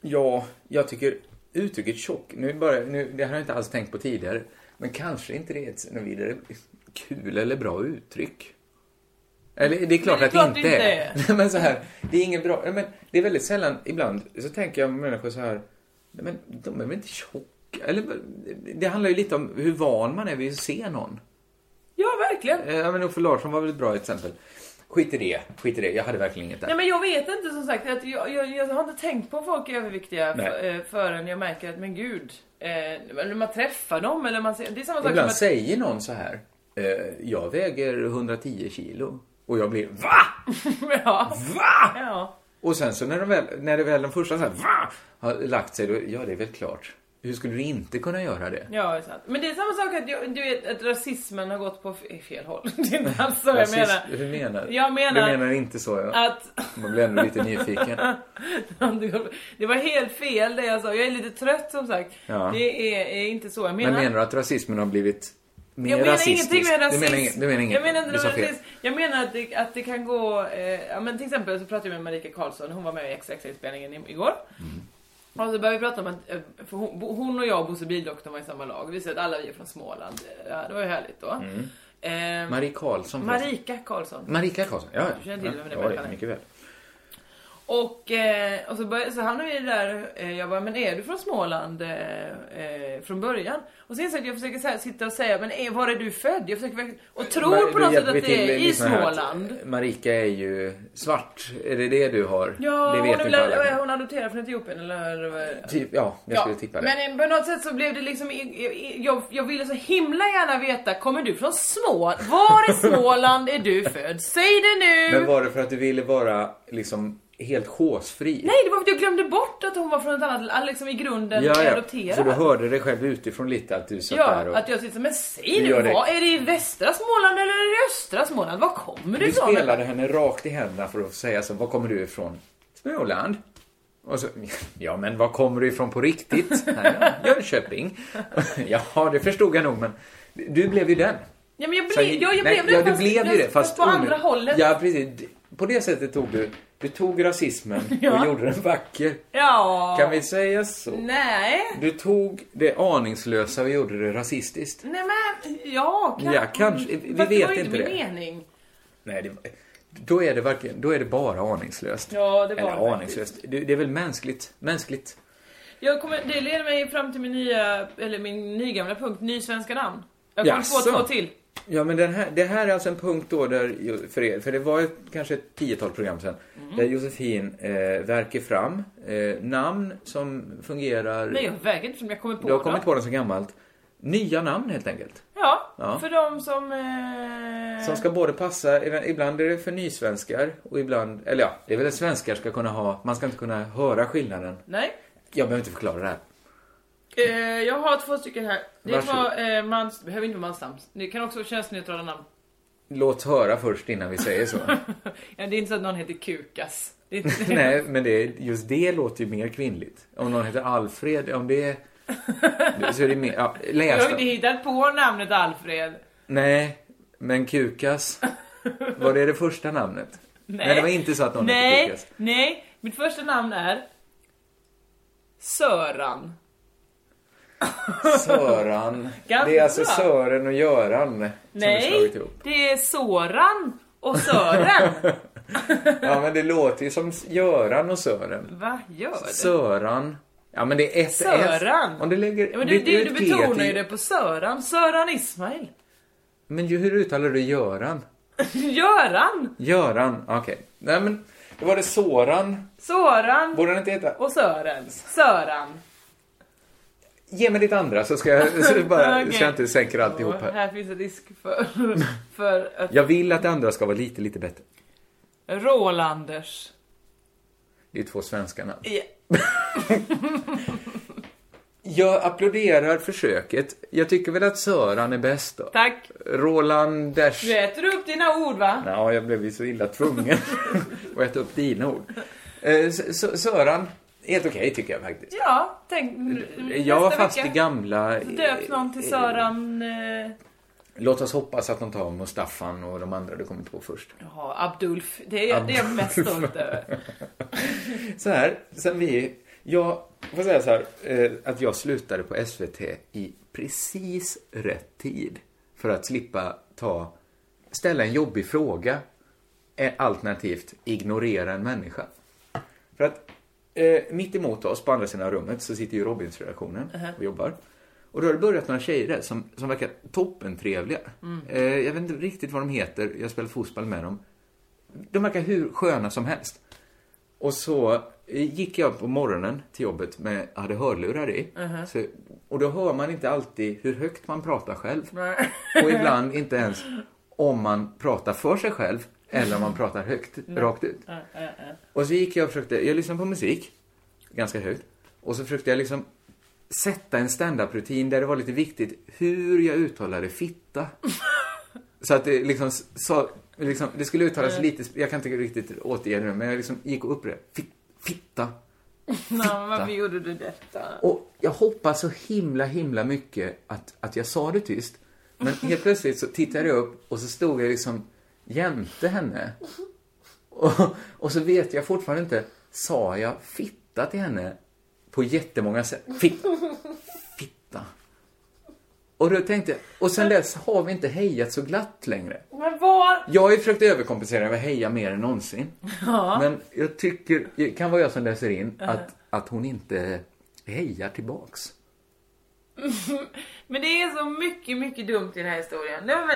Speaker 6: Ja, jag tycker uttrycket tjock, nu börjar, nu, det har jag inte alls tänkt på tidigare, men kanske inte det är ett något vidare kul eller bra uttryck. Eller det är klart
Speaker 5: det är
Speaker 6: att
Speaker 5: klart
Speaker 6: det
Speaker 5: det
Speaker 6: inte
Speaker 5: inte
Speaker 6: är. Nej, men så här, det är inget bra, men det är väldigt sällan, ibland så tänker jag på människor så här, nej, men de är väl inte tjocka? Eller, det handlar ju lite om hur van man är vid att se någon.
Speaker 5: Ja verkligen.
Speaker 6: Eh, Ja, men Uffe Larsson var väl ett bra exempel. Skit i det, skit i det, jag hade verkligen inget där.
Speaker 5: Nej men jag vet inte som sagt, att jag, jag, jag har inte tänkt på om folk är överviktiga
Speaker 6: Nej.
Speaker 5: för, eh, förrän jag märker att men gud. Eh, eller man träffar dem eller man ser, det är samma sak som
Speaker 6: Ibland
Speaker 5: att
Speaker 6: säger någon så här. Eh, jag väger 110 kilo. Och jag blir VA?
Speaker 5: ja,
Speaker 6: VA?
Speaker 5: ja.
Speaker 6: Och sen så när, de väl, när det väl den första så här VA? Har lagt sig, då, ja det är väl klart. Hur skulle du inte kunna göra det?
Speaker 5: Ja, det är sant. Men det är samma sak att, jag, du vet, att rasismen har gått på f- fel håll. Det är inte alls så jag
Speaker 6: Rasist-
Speaker 5: menar.
Speaker 6: Hur menar du?
Speaker 5: Jag menar-
Speaker 6: Du menar inte så ja.
Speaker 5: Att...
Speaker 6: Man blir ändå lite nyfiken.
Speaker 5: Det var helt fel det jag sa. Jag är lite trött som sagt.
Speaker 6: Ja.
Speaker 5: Det är, är inte så jag menar.
Speaker 6: Men menar du att rasismen har blivit mer
Speaker 5: jag menar
Speaker 6: rasistisk?
Speaker 5: ingenting med rasism.
Speaker 6: Du menar, inget- du menar inget?
Speaker 5: Jag menar inte
Speaker 6: du sa
Speaker 5: med
Speaker 6: fel.
Speaker 5: rasism. Jag menar att det, att det kan gå... Eh, ja, men till exempel så pratade jag med Marika Karlsson, hon var med i XX-inspelningen i- igår.
Speaker 6: Mm.
Speaker 5: Och så började vi prata om att eh, för hon, Bo- hon och jag och Bosse Bildoktorn var i samma lag. Vi säger att alla vi är från Småland. Ja, det var ju härligt då.
Speaker 6: Mm.
Speaker 5: Eh,
Speaker 6: Marie Karlsson. förresten.
Speaker 5: Marika Karlsson.
Speaker 6: Marika Karlsson, ja.
Speaker 5: Du
Speaker 6: ja.
Speaker 5: känner till vem det är,
Speaker 6: ja, det
Speaker 5: Marika.
Speaker 6: är mycket väl.
Speaker 5: Och, eh, och så, började, så hamnade vi där, eh, jag bara, men är du från Småland eh, eh, från början? Och sen så att jag försöker så här, sitta och säga, men är, var är du född? Jag försöker verkligen- och tror
Speaker 6: Mar-
Speaker 5: på
Speaker 6: då
Speaker 5: något sätt
Speaker 6: hjälper
Speaker 5: att
Speaker 6: vi
Speaker 5: det är
Speaker 6: till
Speaker 5: i
Speaker 6: lyssna här att
Speaker 5: Småland.
Speaker 6: Marika är ju svart. Är det det du har?
Speaker 5: Ja,
Speaker 6: det
Speaker 5: hon,
Speaker 6: vet
Speaker 5: är
Speaker 6: inte
Speaker 5: väl,
Speaker 6: alla.
Speaker 5: eh, hon adopterade från Etiopien eller? eller vad-
Speaker 6: Typ, ja, jag skulle tippa det.
Speaker 5: Men eh, på något sätt så blev det liksom, i- i- i- jag, jag ville så himla gärna veta, kommer du från Småland? Var i Småland är du född? Säg det nu!
Speaker 6: Men var det för att du ville vara liksom helt håsfri?
Speaker 5: Nej, det var för att jag glömde bort att hon var från ett annat land, liksom i grunden
Speaker 6: ja, ja.
Speaker 5: adopterad.
Speaker 6: Så du hörde dig själv utifrån lite att du satt där
Speaker 5: Ja,
Speaker 6: och...
Speaker 5: att jag sitter men säg
Speaker 6: Du
Speaker 5: nu,
Speaker 6: gör det.
Speaker 5: vad, är det i västra Småland eller är det i östra Småland? Var kommer du
Speaker 6: Du
Speaker 5: ifrån?
Speaker 6: spelade henne rakt i händerna för att säga så, var kommer du ifrån? Småland. Och så, ja men var kommer du ifrån på riktigt? Nej, ja, Jönköping. Jaha, det förstod jag nog men du blev ju den.
Speaker 5: Ja, men jag
Speaker 6: Så
Speaker 5: blev,
Speaker 6: här,
Speaker 5: ja, jag
Speaker 6: nej,
Speaker 5: blev det.
Speaker 6: ja, du
Speaker 5: fast-
Speaker 6: blev ju det. Fast
Speaker 5: på andra
Speaker 6: onödigt.
Speaker 5: hållet. Ja.
Speaker 6: Ja, precis. D- På det sättet tog du, du tog rasismen
Speaker 5: Ja.
Speaker 6: och gjorde den vacker. Kan vi säga så?
Speaker 5: Nej.
Speaker 6: Du tog det aningslösa och gjorde det rasistiskt.
Speaker 5: Nej men, ja. Kan...
Speaker 6: Ja, kanske. Vi
Speaker 5: Fast det
Speaker 6: vet
Speaker 5: var ju
Speaker 6: inte
Speaker 5: min
Speaker 6: det.
Speaker 5: mening.
Speaker 6: Nej, det, då, är det verkligen, då är det bara aningslöst.
Speaker 5: Ja, det var det
Speaker 6: Eller
Speaker 5: faktiskt.
Speaker 6: aningslöst. Det, det är väl mänskligt. Mänskligt.
Speaker 5: Jag kommer, det leder mig fram till min nya, eller min nygamla punkt, ny svenska namn. Jag kommer
Speaker 6: Jaså?
Speaker 5: på två till.
Speaker 6: Ja, men den här, det här är alltså en punkt då där, ju- för, er, för det var ju kanske ett tiotal program sedan,
Speaker 5: Mm.
Speaker 6: där Josefin eh, verkar fram eh, namn som fungerar.
Speaker 5: Nej, jag väger inte som jag kommer på
Speaker 6: Du har
Speaker 5: dem.
Speaker 6: kommit på den så gammalt. Nya namn helt enkelt.
Speaker 5: Ja,
Speaker 6: Ja.
Speaker 5: för de som... Eh...
Speaker 6: Som ska både passa, ev- ibland är det för nysvenskar och ibland, eller ja, det är väl att svenskar ska kunna ha, man ska inte kunna höra skillnaden.
Speaker 5: Nej.
Speaker 6: Jag behöver inte förklara det här.
Speaker 5: Eh, jag har två stycken här. Det
Speaker 6: Varsågod.
Speaker 5: var eh, mans... det behöver inte vara mansnamn. Det kan också vara könsneutrala namn.
Speaker 6: Låt höra först innan vi säger så.
Speaker 5: Ja, det är inte så att någon heter Kukas. Det är inte...
Speaker 6: Nej, men det, just det låter ju mer kvinnligt. Om någon heter Alfred, om det är... Så är det mer, ja,
Speaker 5: Jag
Speaker 6: läs
Speaker 5: har
Speaker 6: då.
Speaker 5: inte hittat på namnet Alfred.
Speaker 6: Nej, men Kukas. Var det det första namnet?
Speaker 5: Nej.
Speaker 6: det var inte så att någon hette
Speaker 5: Nej,
Speaker 6: Kukas.
Speaker 5: nej. Mitt första namn är Söran.
Speaker 6: Söran.
Speaker 5: Ganska
Speaker 6: det är alltså
Speaker 5: bra.
Speaker 6: Sören och Göran som är
Speaker 5: Nej,
Speaker 6: slagit ihop.
Speaker 5: det är Soran och Sören.
Speaker 6: Ja, men det låter ju som Göran och Sören.
Speaker 5: Vad gör det?
Speaker 6: Söran. Ja, men det är ett
Speaker 5: Söran.
Speaker 6: S. Om du lägger...
Speaker 5: Ja, men du,
Speaker 6: det är
Speaker 5: du, du
Speaker 6: ett G
Speaker 5: betonar
Speaker 6: till-
Speaker 5: ju det på Söran. Söran Ismail.
Speaker 6: Men ju- hur uttalar du Göran?
Speaker 5: Göran,
Speaker 6: Göran, okej. Nej, men då var det Soran.
Speaker 5: Soran
Speaker 6: Borde den inte heta...
Speaker 5: och Sören. Söran.
Speaker 6: Ge mig ditt andra så ska jag, så, bara,
Speaker 5: Okej.
Speaker 6: så jag inte sänker alltihop
Speaker 5: Och
Speaker 6: här.
Speaker 5: här finns en risk för, för att
Speaker 6: Jag vill att det andra ska vara lite, lite bättre.
Speaker 5: Rolanders.
Speaker 6: Det är två svenska namn.
Speaker 5: Ja.
Speaker 6: Jag applåderar försöket. Jag tycker väl att Söran är bäst då.
Speaker 5: Tack.
Speaker 6: Roland Dash.
Speaker 5: Du äter upp dina ord va?
Speaker 6: Ja, jag blev ju så illa tvungen att äta upp dina ord. Eh, S- S- Söran, Helt okej tycker jag faktiskt.
Speaker 5: Ja, tänk
Speaker 6: Jag
Speaker 5: Mm,
Speaker 6: var
Speaker 5: nästa
Speaker 6: fast i
Speaker 5: vecka.
Speaker 6: gamla... eh,
Speaker 5: Döp någon till Söran... Eh,
Speaker 6: Låt oss hoppas att de tar Mustafan och de andra du kommer inte på först.
Speaker 5: jaha, Abdulf. Det är, det är jag mest stolt över.
Speaker 6: Så här, sen vi... Jag får säga så här, eh, att jag slutade på SVT i precis rätt tid för att slippa ta, ställa en jobbig fråga eh, alternativt ignorera en människa. För att eh, mitt emot oss på andra sidan rummet så sitter ju Robins-redaktionen och jobbar. Och då har det börjat några tjejer där som, som verkar toppentrevliga. Eh, jag vet inte riktigt vad de heter, jag spelar fotboll med dem. De verkar hur sköna som helst. Och så eh, gick jag på morgonen till jobbet med, jag hade hörlurar i. Så, och då hör man inte alltid hur högt man pratar själv. Och ibland inte ens om man pratar för sig själv eller om man pratar högt, rakt ut. Och så gick jag och försökte, jag lyssnade på musik, ganska högt. Och så försökte jag liksom sätta en standup-rutin där det var lite viktigt hur jag uttalade fitta. Så att det liksom, s- sa, liksom det skulle uttalas lite, sp- jag kan inte riktigt återge det nu, men jag liksom gick och upprepade Fit, fitta.
Speaker 5: Nej, varför gjorde du detta?
Speaker 6: Och jag hoppas så himla, himla mycket att, att jag sa det tyst. Men helt plötsligt så tittade jag upp och så stod jag liksom jämte henne. Och, och så vet jag fortfarande inte, sa jag fitta till henne på jättemånga sätt? Fitta. Fitta. Och då tänkte jag, och sen dess har vi inte hejat så glatt längre.
Speaker 5: Men var...
Speaker 6: Jag har ju försökt överkompensera med heja mer än någonsin. Men jag tycker, det kan vara jag som läser in, att, att hon inte hejar tillbaks.
Speaker 5: Men det är så mycket, mycket dumt i den här historien. Nej, men...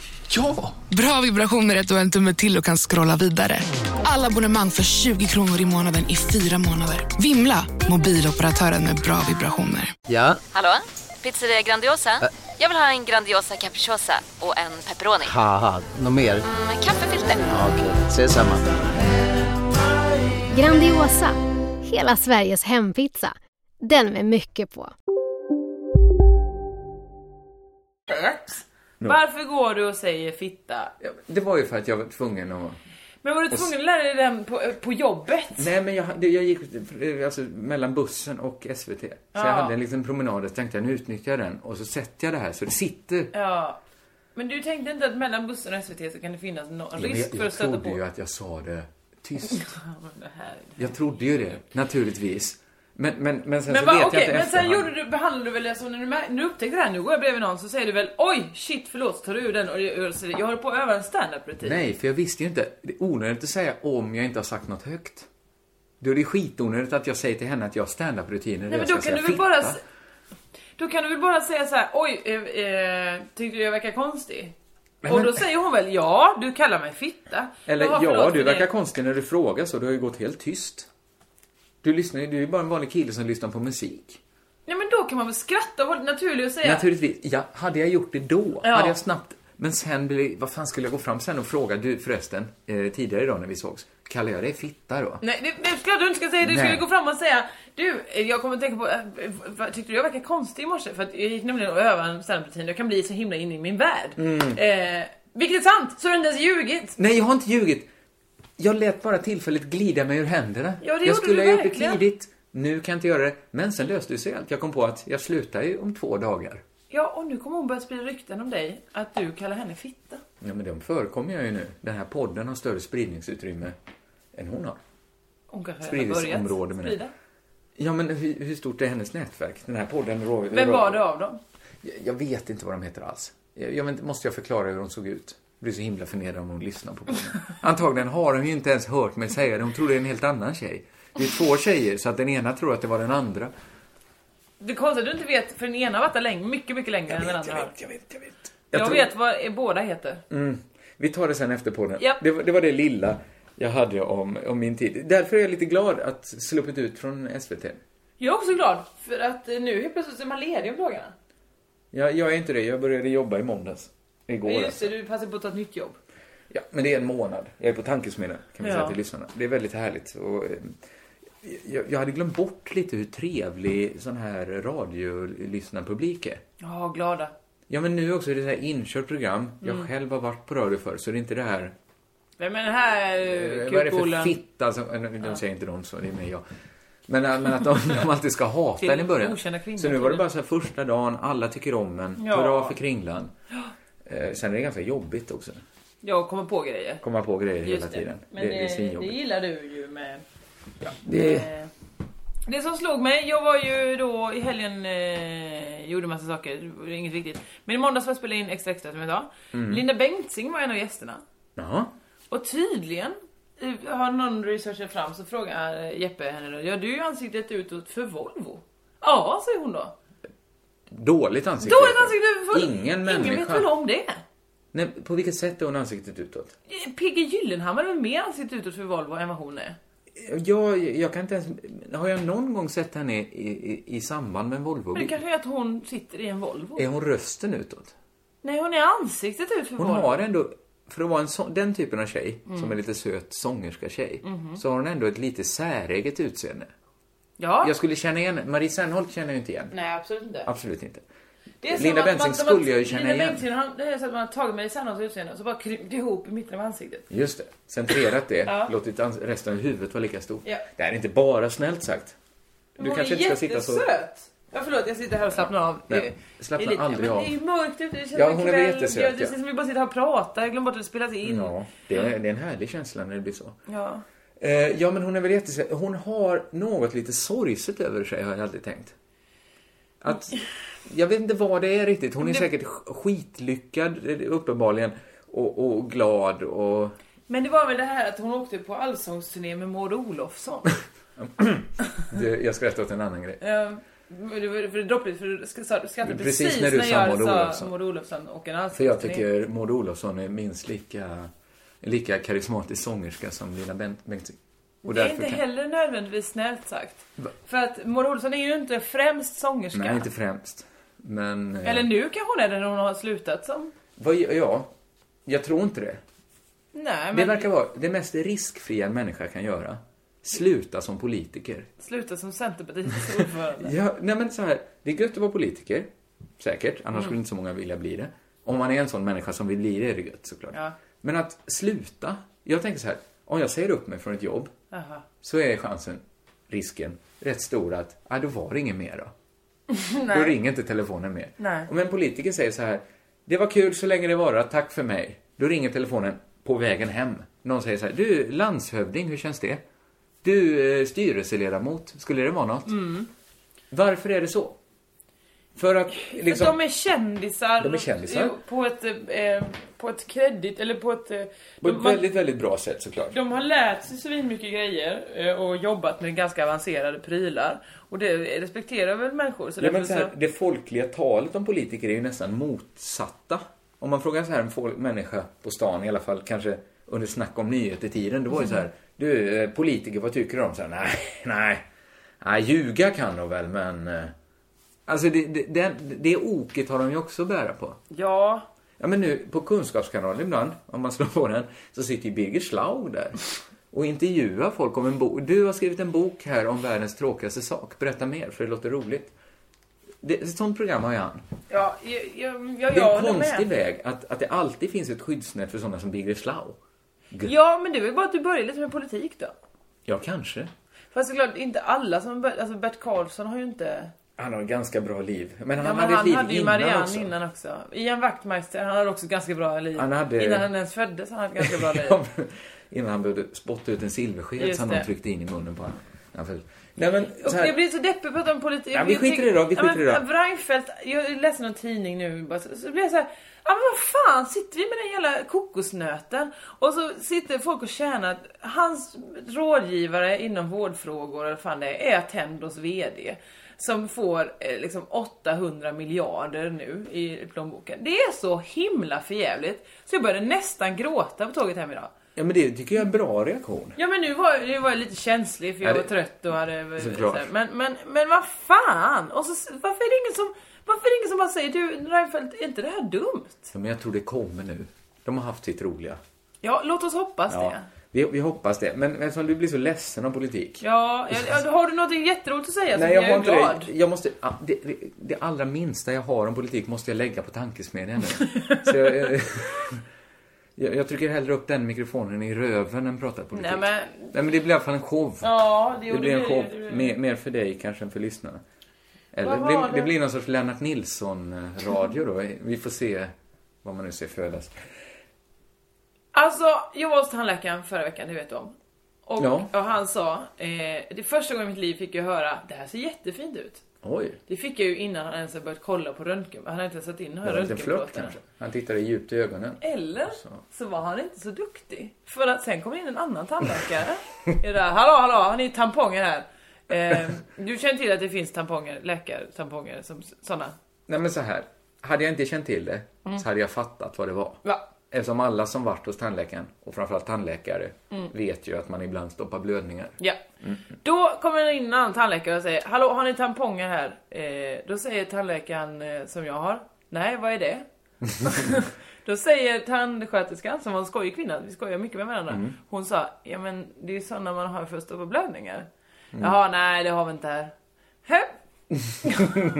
Speaker 7: Ja!
Speaker 8: Bra vibrationer är att du har en tumme till och kan scrolla vidare. Alla abonnemang för 20 kronor i månaden i fyra månader. Vimla! Mobiloperatören med bra vibrationer.
Speaker 4: Ja,
Speaker 9: Hallå? Pizzeria Grandiosa? Jag vill ha en Grandiosa capriciosa och en pepperoni.
Speaker 4: haha, något mer?
Speaker 9: Med kaffefilter.
Speaker 4: Ja, Okej, ses samma.
Speaker 10: Grandiosa, hela Sveriges hempizza. Den med mycket på.
Speaker 5: Varför går du och säger fitta?
Speaker 6: Ja, Det var ju för att jag var tvungen att...
Speaker 5: Men var du tvungen att lära dig den på, på jobbet?
Speaker 6: Nej, men jag, det- jag gick alltså, mellan bussen och SVT. Så jag hade en liten promenad och så tänkte jag nu utnyttjar jag den och så sätter jag det här så det sitter.
Speaker 5: Ja. Men du tänkte inte att mellan bussen och SVT så kan det finnas någon
Speaker 6: Men
Speaker 5: risk
Speaker 6: jag,
Speaker 5: för
Speaker 6: jag
Speaker 5: att stöta på?
Speaker 6: trodde ju att Alltså, jag sa det tyst.
Speaker 5: Ja, men det här...
Speaker 6: Jag trodde ju det, naturligtvis. Men, men, men sen
Speaker 5: Men,
Speaker 6: så
Speaker 5: va,
Speaker 6: vet jag
Speaker 5: okej,
Speaker 6: inte
Speaker 5: men sen
Speaker 6: efterhand.
Speaker 5: gjorde du, behandlade du väl det som när du, mär- när du upptäckte det här, nu går jag bredvid någon så säger du väl oj shit förlåt så tar du ur den och jag, och så- jag håller på att öva en standup rutin.
Speaker 6: Nej, för jag visste ju inte. Det är onödigt att säga om jag inte har sagt något högt. Då är det skitonödigt att jag säger till henne att jag har standup-rutiner.
Speaker 5: Nej men då kan du väl bara... s- Då kan du väl bara säga så här: oj, eh, eh, tyckte du jag verkar konstig?
Speaker 6: Men-
Speaker 5: och då säger hon väl ja, du kallar mig fitta.
Speaker 6: Eller
Speaker 5: Jaha,
Speaker 6: ja,
Speaker 5: förlåt
Speaker 6: du
Speaker 5: för det."
Speaker 6: verkar konstig när du frågar så. Du har ju gått helt tyst. Du lyssnar ju, du är ju bara en vanlig kille som lyssnar på musik.
Speaker 5: Nej men då kan man väl skratta och vara lite naturlig och säga
Speaker 6: Naturligtvis, ja, hade jag gjort det då,
Speaker 5: Ja.
Speaker 6: hade jag snabbt... Men sen blir vad fan skulle jag gå fram sen och fråga, du förresten, eh, tidigare idag när vi sågs, kallar jag dig fitta då?
Speaker 5: Nej, det, det ska du inte ska säga. Du skulle
Speaker 6: Nej.
Speaker 5: gå fram och säga Du, eh, jag kommer att tänka på, eh, vad- tyckte du jag verkar konstig i morse? För att jag gick nämligen och övade en standup-rutin. Jag kan bli så himla inne i min värld.
Speaker 6: Mm.
Speaker 5: Eh, vilket är sant, så har du inte ens ljugit.
Speaker 6: Nej, jag har inte ljugit. Jag lät bara tillfället glida mig ur händerna.
Speaker 5: Ja, det gjorde
Speaker 6: jag skulle
Speaker 5: du
Speaker 6: ha gjort det
Speaker 5: verkligen.
Speaker 6: tidigt. Nu kan jag inte göra det. Men sen löste det sig allt. Jag kom på att jag slutar ju om två dagar.
Speaker 5: Ja, och nu kommer hon börja sprida rykten om dig att du kallar henne fitta.
Speaker 6: Ja, men de förekommer jag ju nu. Den här podden har större spridningsutrymme än hon har.
Speaker 5: Hon kanske redan har
Speaker 6: Spridningsområde
Speaker 5: börjat
Speaker 6: menar
Speaker 5: sprida.
Speaker 6: jag. Ja, men hur, hur stort är hennes nätverk? Den här podden... Rå,
Speaker 5: Vem
Speaker 6: rå-
Speaker 5: var det av dem?
Speaker 6: Jag, jag vet inte vad de heter alls. Jag, jag vet, inte- måste jag förklara hur de såg ut? Det blir så himla förnedrande om hon lyssnar på podden. Antagligen har de ju inte ens hört mig säga det. Hon tror det är en helt annan tjej. Det är två tjejer, så att den ena tror att det var den andra.
Speaker 5: Det är konstigt att du inte vet, för den ena har varit där länge, mycket, mycket längre än den andra har.
Speaker 6: jag vet, jag vet.
Speaker 5: Jag,
Speaker 6: tror- Mm.
Speaker 5: vet vad eh, båda heter.
Speaker 6: Vi tar det sen efter podden.
Speaker 5: Japp.
Speaker 6: Det, var- det var det lilla jag hade om, om min tid. Därför är jag lite glad att sluppit ut från SVT.
Speaker 5: Jag är också glad för att eh, nu helt plötsligt är man ledig om dagarna.
Speaker 6: Jag, jag är inte det. Jag började jobba i måndags. Igår
Speaker 5: Men just
Speaker 6: alltså.
Speaker 5: det, du passar på att ta ett nytt jobb.
Speaker 6: Ja, men det är en månad. Jag är på tankesmedjan kan vi
Speaker 5: Ja.
Speaker 6: säga till lyssnarna. Det är väldigt härligt. Och, eh, jag, jag hade glömt bort lite hur trevlig sån här radiolyssnarpublik är.
Speaker 5: Ja, glada.
Speaker 6: Ja, men nu också är det så här inkört program. Jag
Speaker 5: Mm.
Speaker 6: själv har varit på radio förr, så det är inte det här...
Speaker 5: Vem är den här
Speaker 6: Eh,
Speaker 5: eh,
Speaker 6: Vad är det för
Speaker 5: kukbolen?
Speaker 6: fitta som... eh, De säger inte de så, det är mig jag. Men, eh, men att de, de alltid ska hata
Speaker 5: Till
Speaker 6: den i början.
Speaker 5: okända kvinnor,
Speaker 6: Så nu var det
Speaker 5: tydligen.
Speaker 6: bara så här första dagen, alla tycker om en.
Speaker 5: Ja.
Speaker 6: Hurra för kringlan. Eh, Sen är det ganska jobbigt också.
Speaker 5: Jag kommer på grejer.
Speaker 6: Komma på grejer hela
Speaker 5: det.
Speaker 6: tiden.
Speaker 5: Men eh,
Speaker 6: det, det är
Speaker 5: det, det
Speaker 6: svinjobbigt.
Speaker 5: gillar du ju med...
Speaker 6: Det är-
Speaker 5: Eh, Det som slog mig, jag var ju då i helgen, eh, gjorde massa saker, det var inget viktigt. Men i måndags var jag spelade in Extra Extra som idag.
Speaker 6: Mm.
Speaker 5: Linda Bengtzing var en av gästerna.
Speaker 6: Jaha.
Speaker 5: Och tydligen eh, har någon researchat fram så frågar eh, Jeppe henne då, gör du ju ansiktet utåt för Volvo? Ja, säger hon då.
Speaker 6: Dåligt ansikte.
Speaker 5: Dåligt ansikte för Volvo.
Speaker 6: Ingen
Speaker 5: Ingen vet
Speaker 6: människa.
Speaker 5: väl om det?
Speaker 6: Nej, på vilket sätt är hon ansiktet utåt?
Speaker 5: PG Gyllenhammar är väl mer ansiktet utåt för Volvo än vad hon är?
Speaker 6: Jag, jag kan inte ens... Har jag någon gång sett henne i, i, i samband med en Volvo?
Speaker 5: Men det kanske är att hon sitter i en Volvo?
Speaker 6: Är hon rösten utåt?
Speaker 5: Nej, hon är ansiktet ut för
Speaker 6: Hon
Speaker 5: Volvo.
Speaker 6: har ändå, för att vara en så, den typen av tjej,
Speaker 5: Mm.
Speaker 6: som är lite söt sångerska-tjej,
Speaker 5: Mhm.
Speaker 6: så har hon ändå ett lite säreget utseende.
Speaker 5: Ja.
Speaker 6: Jag skulle känna igen Marie Serneholt känner jag inte igen.
Speaker 5: Nej, absolut inte.
Speaker 6: Absolut inte.
Speaker 5: Det är som
Speaker 6: Linda
Speaker 5: att man-
Speaker 6: Bengtzing
Speaker 5: som att
Speaker 6: skulle jag ju känna
Speaker 5: Linda
Speaker 6: igen.
Speaker 5: Bengtzing, han, det är så att man har tagit med Sanders utseende och så bara krympt ihop i mitten av ansiktet.
Speaker 6: Just det. Centrerat det,
Speaker 5: Ja.
Speaker 6: låtit ans- resten av huvudet vara lika stort.
Speaker 5: Ja.
Speaker 6: Det här är inte bara snällt sagt. Du
Speaker 5: hon
Speaker 6: kanske
Speaker 5: är
Speaker 6: inte ska sitta så...
Speaker 5: jättesöt. Ja, förlåt, jag sitter här och slappnar av.
Speaker 6: Nej,
Speaker 5: Det är-
Speaker 6: slappna
Speaker 5: det är lite-
Speaker 6: aldrig
Speaker 5: men
Speaker 6: av.
Speaker 5: Det är ju mörkt ute, det känns
Speaker 6: Ja,
Speaker 5: som
Speaker 6: hon är
Speaker 5: kväll.
Speaker 6: jättesöt,
Speaker 5: Ja, det
Speaker 6: ja.
Speaker 5: känns som vi bara sitter här och pratar. Jag glömde bort att det spelas in.
Speaker 6: Ja, det är, det är en härlig känsla när det blir så.
Speaker 5: Ja.
Speaker 6: Eh, ja, men hon är väl jättesöt. Hon har något lite sorgset över sig, har jag alltid tänkt. Att, jag vet inte vad det är riktigt. Hon är
Speaker 5: Det-
Speaker 6: säkert sk- skitlyckad, eh, uppenbarligen, och, och glad och...
Speaker 5: Men det var väl det här att hon åkte på allsångsturné med Maud Olofsson.
Speaker 6: Det- Jag skrattar åt en annan grej.
Speaker 5: Eh, men det var för det är droppligt för du ska- sa- skrattade
Speaker 6: Precis
Speaker 5: precis,
Speaker 6: när du
Speaker 5: när
Speaker 6: sa
Speaker 5: jag
Speaker 6: Maud
Speaker 5: sa
Speaker 6: Olofsson.
Speaker 5: Maud Olofsson och en
Speaker 6: För jag
Speaker 5: allsångsturné.
Speaker 6: tycker Maud Olofsson är minst lika, lika karismatisk sångerska som Lina Bent- Bengtzing. Och
Speaker 5: det är
Speaker 6: därför
Speaker 5: inte
Speaker 6: kan-
Speaker 5: heller nödvändigtvis snällt sagt.
Speaker 6: Va?
Speaker 5: För att Maud Olofsson är ju inte främst sångerska.
Speaker 6: Nej, inte främst. Men... eh,
Speaker 5: Eller nu kanske hon är det när hon har slutat som.
Speaker 6: Vad, ja, jag tror inte det.
Speaker 5: Nej
Speaker 6: Det
Speaker 5: men
Speaker 6: verkar vara det mest riskfria en människa kan göra. Sluta som politiker.
Speaker 5: sluta som Centerpartiets ordförande.
Speaker 6: Ja, nej men så här, det är gött att vara politiker. Säkert, annars
Speaker 5: Mm.
Speaker 6: skulle inte så många vilja bli det. Om man är en sån människa som vill bli det är det gött såklart.
Speaker 5: Ja.
Speaker 6: Men att sluta. Jag tänker så här, om jag säger upp mig från ett jobb
Speaker 5: Jaha.
Speaker 6: så är chansen, risken, rätt stor att, ja då var det inget mer då. Då
Speaker 5: Nej.
Speaker 6: ringer inte telefonen mer.
Speaker 5: Nej.
Speaker 6: Om en politiker säger så här, det var kul så länge det varar, tack för mig. Då ringer telefonen på vägen hem. Någon säger så här, du landshövding, hur känns det? Du eh, styrelseledamot, skulle det vara något?
Speaker 5: Mm.
Speaker 6: Varför är det så? För att
Speaker 5: För
Speaker 6: liksom...
Speaker 5: de är kändisar.
Speaker 6: De är kändisar.
Speaker 5: Jo, På ett, eh, på ett kredit, eller på ett... eh,
Speaker 6: På
Speaker 5: De,
Speaker 6: ett
Speaker 5: man,
Speaker 6: väldigt, väldigt bra sätt såklart.
Speaker 5: de har lärt sig svinmycket grejer eh, och jobbat med ganska avancerade prylar. Och det respekterar väl människor. Så
Speaker 6: Ja, men
Speaker 5: därför
Speaker 6: så här, det folkliga talet om politiker är ju nästan motsatta. Om man frågar så här en folk, människa på stan, i alla fall kanske under snack om nyheter-tiden, då var det så här, du eh, politiker, vad tycker du om? Så här, nej, nej, nej, ljuga kan de väl, men... eh." Alltså det, det, det, det oket har de ju också att bära på.
Speaker 5: Ja.
Speaker 6: Ja, men nu på Kunskapskanalen ibland, om man slår på den, så sitter ju Birger Schlaug där och intervjuar folk om en bok. Du har skrivit en bok här om världens tråkigaste sak. Berätta mer, för det låter roligt. Det, ett sånt program har ju han.
Speaker 5: Ja, jag, jag, jag,
Speaker 6: det är en
Speaker 5: håller med.
Speaker 6: konstig väg att, att det alltid finns ett skyddsnät för sådana som Birger Schlaug.
Speaker 5: Ja, men det är väl bara att du börjar lite med politik då.
Speaker 6: Ja, kanske.
Speaker 5: Fast såklart inte alla som börjar, alltså Bert Karlsson har ju inte...
Speaker 6: Han har ett ganska bra liv. Men han
Speaker 5: Ja, men
Speaker 6: hade ett liv
Speaker 5: hade ju
Speaker 6: innan
Speaker 5: Marianne
Speaker 6: också.
Speaker 5: innan också. Ian Wachtmeister, han hade också ett ganska bra liv.
Speaker 6: Han hade-
Speaker 5: Innan han ens föddes han hade ett ganska bra liv.
Speaker 6: Ja, men- innan han behövde spotta ut en silversked
Speaker 5: Just
Speaker 6: som
Speaker 5: det.
Speaker 6: de tryckte in i munnen på honom. när han föll. Nej, men,
Speaker 5: Och
Speaker 6: så här,
Speaker 5: jag blir så deppig att prata om politik.
Speaker 6: Ja, vi skiter i det då, vi skiter i det då.
Speaker 5: Reinfeldt, jag läser någon tidning nu bara, så, så blir jag så här. Ja men vad fan, sitter vi med den jävla kokosnöten och så sitter folk och tjänar, hans rådgivare inom vårdfrågor eller vad fan det är, är Tendos VD. Som får eh, liksom 800 miljarder nu i plånboken. Det är så himla förjävligt. Så jag började nästan gråta på tåget hem idag.
Speaker 6: Ja, men det tycker jag är en bra reaktion.
Speaker 5: Ja men nu var, nu var jag lite känslig för jag
Speaker 6: Ja, det-
Speaker 5: var trött och hade...
Speaker 6: Såklart.
Speaker 5: så här, Men, men, men vad fan! Och så, varför är det ingen som... Varför är det ingen som bara säger du Reinfeldt, är inte det här dumt?
Speaker 6: Ja, men jag tror det kommer nu. De har haft sitt roliga.
Speaker 5: Ja, låt oss hoppas
Speaker 6: Ja,
Speaker 5: det.
Speaker 6: vi, vi hoppas det. Men eftersom du blir så ledsen av politik.
Speaker 5: Ja, jag, jag- har du något jätteroligt att säga så
Speaker 6: Nej,
Speaker 5: blir
Speaker 6: jag
Speaker 5: jag,
Speaker 6: har
Speaker 5: ju
Speaker 6: inte
Speaker 5: glad.
Speaker 6: det. Jag måste, ja, det, det, det allra minsta jag har om politik måste jag lägga på tankesmedjan nu. så jag, jag, jag, jag trycker hellre upp den mikrofonen i röven än pratar politik.
Speaker 5: Nej men,
Speaker 6: Nej, men det blir i alla fall en show.
Speaker 5: ja det,
Speaker 6: det
Speaker 5: gjorde
Speaker 6: blir en
Speaker 5: vi-
Speaker 6: show.
Speaker 5: det gjorde vi.
Speaker 6: Mer, mer för dig kanske än för lyssnarna. Eller,
Speaker 5: Vad
Speaker 6: det,
Speaker 5: var
Speaker 6: blir- det
Speaker 5: det?
Speaker 6: blir någon sorts Lennart Nilsson-radio då. Vi får se vad man nu ser födas.
Speaker 5: Alltså, jag var hos tandläkaren förra veckan, det vet du om. Och,
Speaker 6: Ja.
Speaker 5: och han sa, eh, det är första gången i mitt liv fick jag höra, det här ser jättefint ut.
Speaker 6: Oj,
Speaker 5: Det fick jag ju innan han ens hade börjat kolla på röntgen, han hade inte ens satt in
Speaker 6: det var en liten flört
Speaker 5: röntgenplåtarna.
Speaker 6: kanske. Han tittade djupt i ögonen.
Speaker 5: Eller så var han inte så duktig. För att sen kom in en annan tandläkare. Är där, hallå hallå, har ni tamponger här? Eh, du känner till att det finns tamponger, läkartamponger, som sådana?
Speaker 6: Nej men så här. Hade jag inte känt till det så hade jag fattat vad det var.
Speaker 5: Mm. Va?
Speaker 6: Eftersom alla som varit hos tandläkaren och framförallt tandläkare
Speaker 5: Mm.
Speaker 6: vet ju att man ibland stoppar blödningar.
Speaker 5: Ja. Då kommer det in en annan tandläkare och säger Hallå har ni tamponger här? Eh, då säger tandläkaren eh, som jag har Nej vad är det? då säger tandsköterskan som var en skojig kvinna, vi skojar mycket med varandra
Speaker 11: Mm.
Speaker 5: Hon sa Ja men det är ju sådana man har för att stoppa blödningar
Speaker 11: Mm.
Speaker 5: Jaha nej det har vi inte här Hä?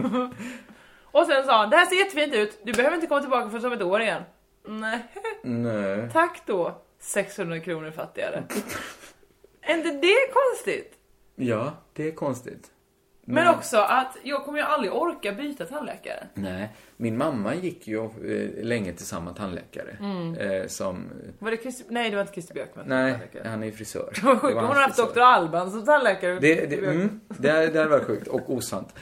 Speaker 5: och sen sa han Det här ser jättefint ut, du behöver inte komma tillbaka för om ett år igen Nej.
Speaker 6: Nej.
Speaker 5: Tack då 600 kronor fattigare Är inte det konstigt?
Speaker 6: Ja, det är konstigt.
Speaker 5: Men också att jag kommer ju aldrig orka byta tandläkare.
Speaker 6: Nej, min mamma gick ju eh, länge till samma tandläkare.
Speaker 5: Mm.
Speaker 6: Eh, som...
Speaker 5: Var det Christer, nej det var inte Christer Björkman.
Speaker 6: Nej, han är ju frisör.
Speaker 5: Det var sjukt.
Speaker 6: Det var
Speaker 5: Hon
Speaker 6: hans
Speaker 5: har haft
Speaker 6: frisör.
Speaker 5: Dr. Alban som tandläkare.
Speaker 6: Det, det, mm, det, här, det här var sjukt och osant.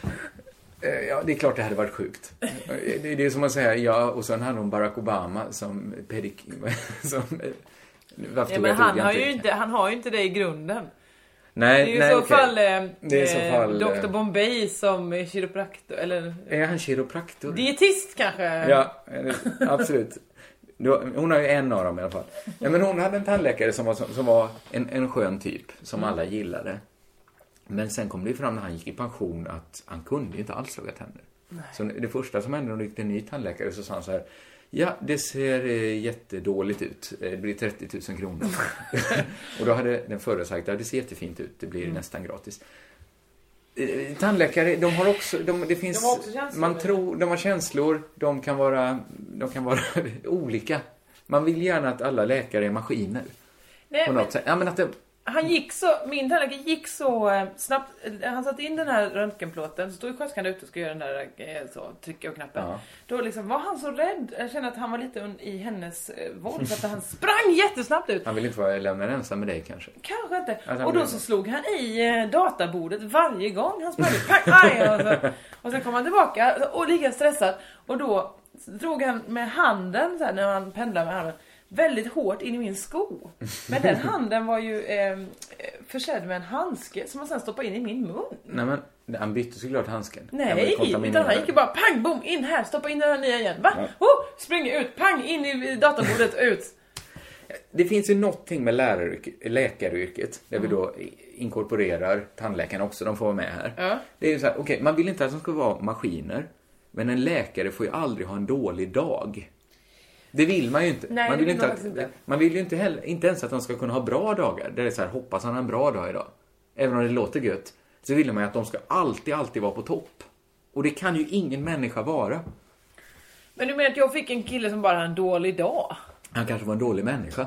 Speaker 6: Eh, Ja, det är klart det hade varit sjukt. Eh, Det, det är som att säga, ja, och sen hade hon Barack Obama som pedik... Som, eh, varför
Speaker 5: Ja,
Speaker 6: tog
Speaker 5: men
Speaker 6: jag ett ord
Speaker 5: han
Speaker 6: jag
Speaker 5: har,
Speaker 6: inte-
Speaker 5: ju inte, han har ju inte det i grunden.
Speaker 6: Nej,
Speaker 5: det är ju
Speaker 6: nej,
Speaker 5: i så
Speaker 6: okej.
Speaker 5: fall, eh,
Speaker 6: Det är i så
Speaker 5: eh,
Speaker 6: fall, eh,
Speaker 5: Dr. Bombay som är kiropraktor. Eller
Speaker 6: Är han kiropraktor?
Speaker 5: dietist kanske.
Speaker 6: Ja, eh, absolut. Då- Hon har ju en av dem i alla fall. Ja, men hon hade en tandläkare som var, som, som var en, en skön typ, som alla gillade. Men sen kom det ju fram när han gick i pension att han kunde ju inte alls laga tänder.
Speaker 12: Nej.
Speaker 6: Så det första som hände när det gick till en ny tandläkare så sa han så här. Ja, det ser eh, jättedåligt ut. Eh, Det blir 30 000 kronor. och då hade den förra sagt, ja det ser jättefint ut. Det blir
Speaker 5: Mm.
Speaker 6: nästan gratis. Eh, Tandläkare, de har också, de, det finns,
Speaker 5: De har också känslor,
Speaker 6: man
Speaker 5: eller?
Speaker 6: tror, de har känslor, de kan vara, de kan vara olika. Man vill gärna att alla läkare är maskiner.
Speaker 5: Nej,
Speaker 6: på
Speaker 5: men-
Speaker 6: något sätt. Ja, men att det,
Speaker 5: Han gick så, min tandläkare gick så eh, snabbt, eh, han satte in den här röntgenplåten, så stod ju sköterskan ute och skulle göra den där, eh, så, trycka och knappen.
Speaker 6: Ja.
Speaker 5: Då liksom var han så rädd, jag kände att han var lite un- i hennes eh, våld, så att han sprang jättesnabbt ut.
Speaker 6: han vill inte vara lämnad ensam med dig kanske.
Speaker 5: Kanske inte.
Speaker 6: han
Speaker 5: Och då
Speaker 6: blev-
Speaker 5: så slog han i eh, databordet varje gång han sprang ut. Pang, aj, och, så. och sen kom han tillbaka och lika stressad. Och då drog han med handen, så här, när han pendlade med handen, väldigt hårt in i min sko. Men den handen var ju eh, försedd med en handske som han sen stoppade in i min mun.
Speaker 6: Nej, men han bytte såklart handsken. Han var ju
Speaker 5: Nej,
Speaker 6: kontaminerad.
Speaker 5: utan han gick ju bara pang, bom, in här, stoppa in den här nya igen. Va? Oh, spring ut, pang, in i datorbordet, ut.
Speaker 6: Det finns ju någonting med läraryrket, läkaryrket, där
Speaker 5: Mm.
Speaker 6: vi då i- inkorporerar tandläkarna också, de får vara med här.
Speaker 5: Ja.
Speaker 6: Det är ju så här, okej, man vill inte att de ska vara maskiner, men en läkare får ju aldrig ha en dålig dag. Det vill man ju inte.
Speaker 5: Nej, det
Speaker 6: man, vill
Speaker 5: vill
Speaker 6: inte
Speaker 5: man
Speaker 6: att,
Speaker 5: faktiskt inte.
Speaker 6: man vill ju inte, heller, inte ens att de ska kunna ha bra dagar. Där det är så här, hoppas han har en bra dag idag. Även om det låter gött, så vill man ju att de ska alltid, alltid vara på topp. Och det kan ju ingen människa vara.
Speaker 5: Men du menar att jag fick en kille som bara hade en dålig dag?
Speaker 6: Han kanske var en dålig människa.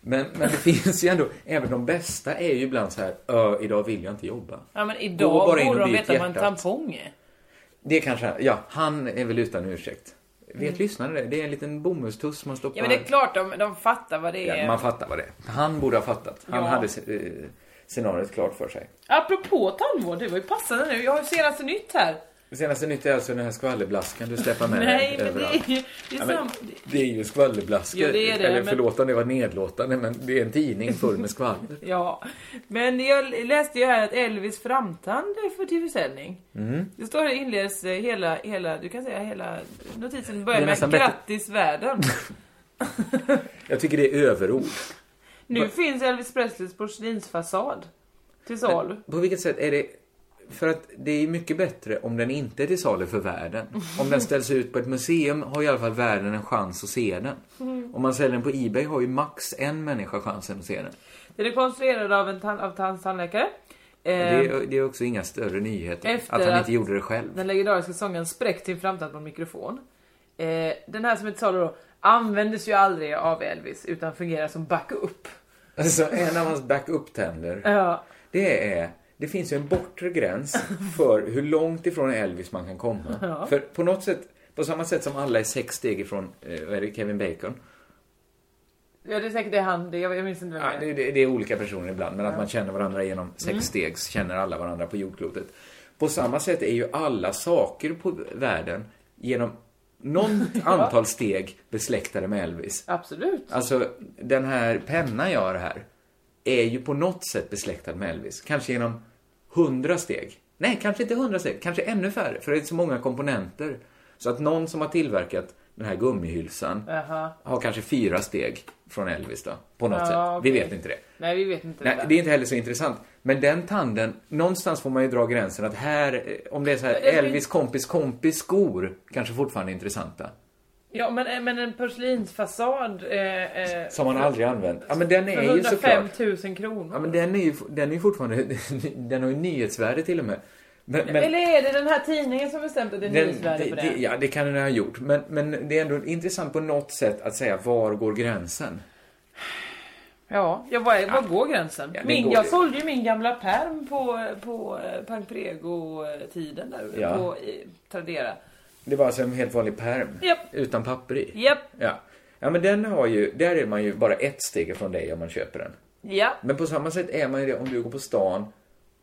Speaker 6: Men, men det finns ju ändå, även de bästa är ju ibland så här, "Ö, idag vill jag inte jobba.
Speaker 5: Ja men
Speaker 6: Gå
Speaker 5: idag
Speaker 6: bara in
Speaker 5: borde
Speaker 6: och
Speaker 5: de
Speaker 6: byt
Speaker 5: veta vad en
Speaker 6: hjärtat.
Speaker 5: tampong är.
Speaker 6: Det kanske, ja, han är väl utan ursäkt. Vet
Speaker 5: Mm.
Speaker 6: lyssnare det? Det är en liten bomullstuss man stoppar.
Speaker 5: Ja men det är klart de, de fattar vad det är.
Speaker 6: Ja, man fattar vad det är. Han borde ha fattat. Han
Speaker 5: Ja.
Speaker 6: hade eh, scenariot klart för sig.
Speaker 5: Apropå tandvård, det var ju passande nu. Jag har ju senaste nytt här.
Speaker 6: Det senaste nytt är alltså den här skvallerblaskan du släpper med
Speaker 5: Nej men det är
Speaker 6: överallt.
Speaker 5: ju... Det är
Speaker 6: Ja, men
Speaker 5: sam...
Speaker 6: det är ju skvallerblaskor.
Speaker 5: Jo, det är det,
Speaker 6: Eller
Speaker 5: men-
Speaker 6: förlåt om det var nedlåtande, men det är en tidning full med skvaller.
Speaker 5: ja. Men jag läste ju här att Elvis framtand är för till försäljning.
Speaker 6: Mm.
Speaker 5: Det står här inleds eh, hela, hela, du kan säga hela notisen
Speaker 6: Det
Speaker 5: börjar
Speaker 6: är
Speaker 5: med
Speaker 6: nästan bättre.
Speaker 5: grattis världen.
Speaker 6: Jag tycker det är överord.
Speaker 5: Nu
Speaker 6: Va-
Speaker 5: finns Elvis Presleys porslinsfasad till salu.
Speaker 6: På vilket sätt är det... För att det är mycket bättre om den inte är till salu för världen. Om den ställs ut på ett museum har i alla fall världen en chans att se den.
Speaker 5: Mm.
Speaker 6: Om man säljer den på Ebay har ju max en människa chansen att se den.
Speaker 5: Den är konstruerad av en tan- av tans tandläkare. Eh,
Speaker 6: Det är, det är också inga större nyheter.
Speaker 5: Efter
Speaker 6: Att han
Speaker 5: att-
Speaker 6: inte gjorde det själv.
Speaker 5: Den legendariska sången Spräckt sin framtid på en mikrofon. Eh, den här som är till salu då användes ju aldrig av Elvis utan fungerar som backup.
Speaker 6: Alltså en av hans backup-tänder.
Speaker 5: Ja.
Speaker 6: Det är... Det finns ju en bortre gräns för hur långt ifrån Elvis man kan komma.
Speaker 5: Ja.
Speaker 6: För på något sätt, på samma sätt som alla är sex steg ifrån eh, vad är det, Kevin Bacon.
Speaker 5: Ja det är säkert det är han, det, jag, jag minns inte vem
Speaker 6: Ja,
Speaker 5: det är.
Speaker 6: det, det, det är olika personer ibland, men att man känner varandra genom sex stegs, känner alla varandra på jordklotet. På samma sätt är ju alla saker på världen genom något antal steg besläktade med Elvis.
Speaker 5: Absolut.
Speaker 6: Alltså, den här pennan jag har här är ju på något sätt besläktad med Elvis. Kanske genom hundra steg. Nej, kanske inte hundra steg, kanske ännu färre, för det är så många komponenter. Så att någon som har tillverkat den här gummihylsan
Speaker 5: Jaha.
Speaker 6: har kanske fyra steg från Elvis då, på något
Speaker 5: Ja,
Speaker 6: sätt.
Speaker 5: okej.
Speaker 6: Vi vet inte det.
Speaker 5: Nej vi vet inte.
Speaker 6: Nej,
Speaker 5: där.
Speaker 6: det är inte heller så intressant. Men den tanden, någonstans får man ju dra gränsen att här, eh, om det är så här
Speaker 5: Men det är-
Speaker 6: Elvis kompis kompis skor, kanske fortfarande är intressanta.
Speaker 5: Ja men, eh, men en porslinsfasad. Eh, eh,
Speaker 6: Som man aldrig använt. Ja men den
Speaker 5: för
Speaker 6: är ju
Speaker 5: 105
Speaker 6: såklart.
Speaker 5: 000 kronor.
Speaker 6: Ja men den är ju, den är ju fortfarande, den har ju nyhetsvärde till och med. Men, men-
Speaker 5: Eller är det den här tidningen som bestämt att det är
Speaker 6: Den-
Speaker 5: nyhetsvärde på
Speaker 6: det-
Speaker 5: det?
Speaker 6: det- Ja, det kan den ha gjort. Men, men det är ändå intressant på något sätt att säga var går gränsen?
Speaker 5: Ja, ja var, var går gränsen?
Speaker 6: Ja, det
Speaker 5: min,
Speaker 6: går
Speaker 5: jag
Speaker 6: ju.
Speaker 5: sålde ju min gamla perm på, på eh, Pang Prego-tiden där
Speaker 6: Ja.
Speaker 5: på i, Tradera.
Speaker 6: Det var alltså en helt vanlig perm
Speaker 5: Japp.
Speaker 6: utan papper i.
Speaker 5: Japp,
Speaker 6: Ja. ja, men den har ju, där är man ju bara ett steg från dig om man köper den.
Speaker 5: japp.
Speaker 6: Men på samma sätt är man ju det om du går på stan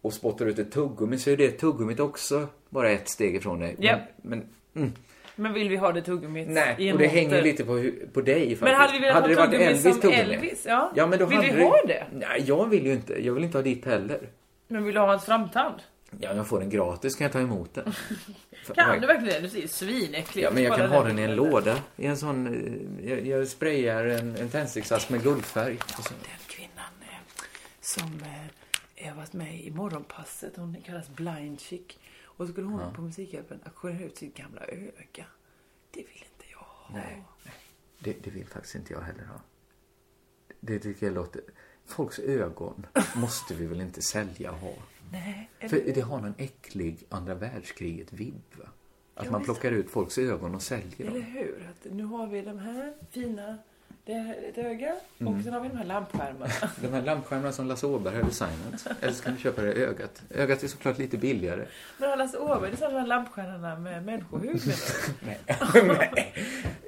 Speaker 6: och spottar ut ett tuggummi så är det tuggummit också bara ett steg ifrån dig.
Speaker 5: Japp.
Speaker 6: Men, men
Speaker 5: Men vill vi ha det tuggummit i
Speaker 6: nej,
Speaker 5: en
Speaker 6: och det
Speaker 5: monter?
Speaker 6: hänger lite på, hu- på dig faktiskt.
Speaker 5: Men hade vi velat
Speaker 6: det
Speaker 5: ha
Speaker 6: varit
Speaker 5: tuggummi som
Speaker 6: tuggummi?
Speaker 5: Elvis? Ja.
Speaker 6: Ja, men då
Speaker 5: vill
Speaker 6: hade
Speaker 5: vi ha det?
Speaker 6: Nej, jag vill ju inte. Jag vill inte ha ditt heller.
Speaker 5: Men vill du ha hans framtand?
Speaker 6: Ja, om jag får den gratis kan jag ta emot den.
Speaker 5: Kan
Speaker 6: Fan,
Speaker 5: du verkligen det? Du ser ju svinäcklig
Speaker 6: Ja,
Speaker 5: ut.
Speaker 6: men jag
Speaker 5: Kolla
Speaker 6: kan ha den i en låda. I en sån... eh, Jag, jag sprayar en, en tändsticksask med guldfärg. Och så-
Speaker 5: Den kvinnan eh, som eh, har varit med i Morgonpasset, hon kallas Blind Chick. Och så skulle hon på Musikhjälpen auktionera ut sitt gamla öga. Det vill inte jag ha.
Speaker 6: Nej. Det, det vill faktiskt inte jag heller ha. Det tycker jag låter... Folks ögon måste vi väl inte sälja och ha?
Speaker 5: Nej.
Speaker 6: För det har någon äcklig andra världskriget-vibb, va? Att man plockar ut folks ögon och säljer
Speaker 5: Eller
Speaker 6: dem.
Speaker 5: hur? Att nu har vi de här fina, det här ett öga
Speaker 6: Mm.
Speaker 5: och sen har vi de här lampskärmarna.
Speaker 6: De här lampskärmarna som Lasse Åberg har designat. Eller så kan du köpa det i ögat. Ögat är såklart lite billigare.
Speaker 5: Men Allas Åberg, det är som de här lampstjärnorna med människohud. menar du?
Speaker 6: Nej.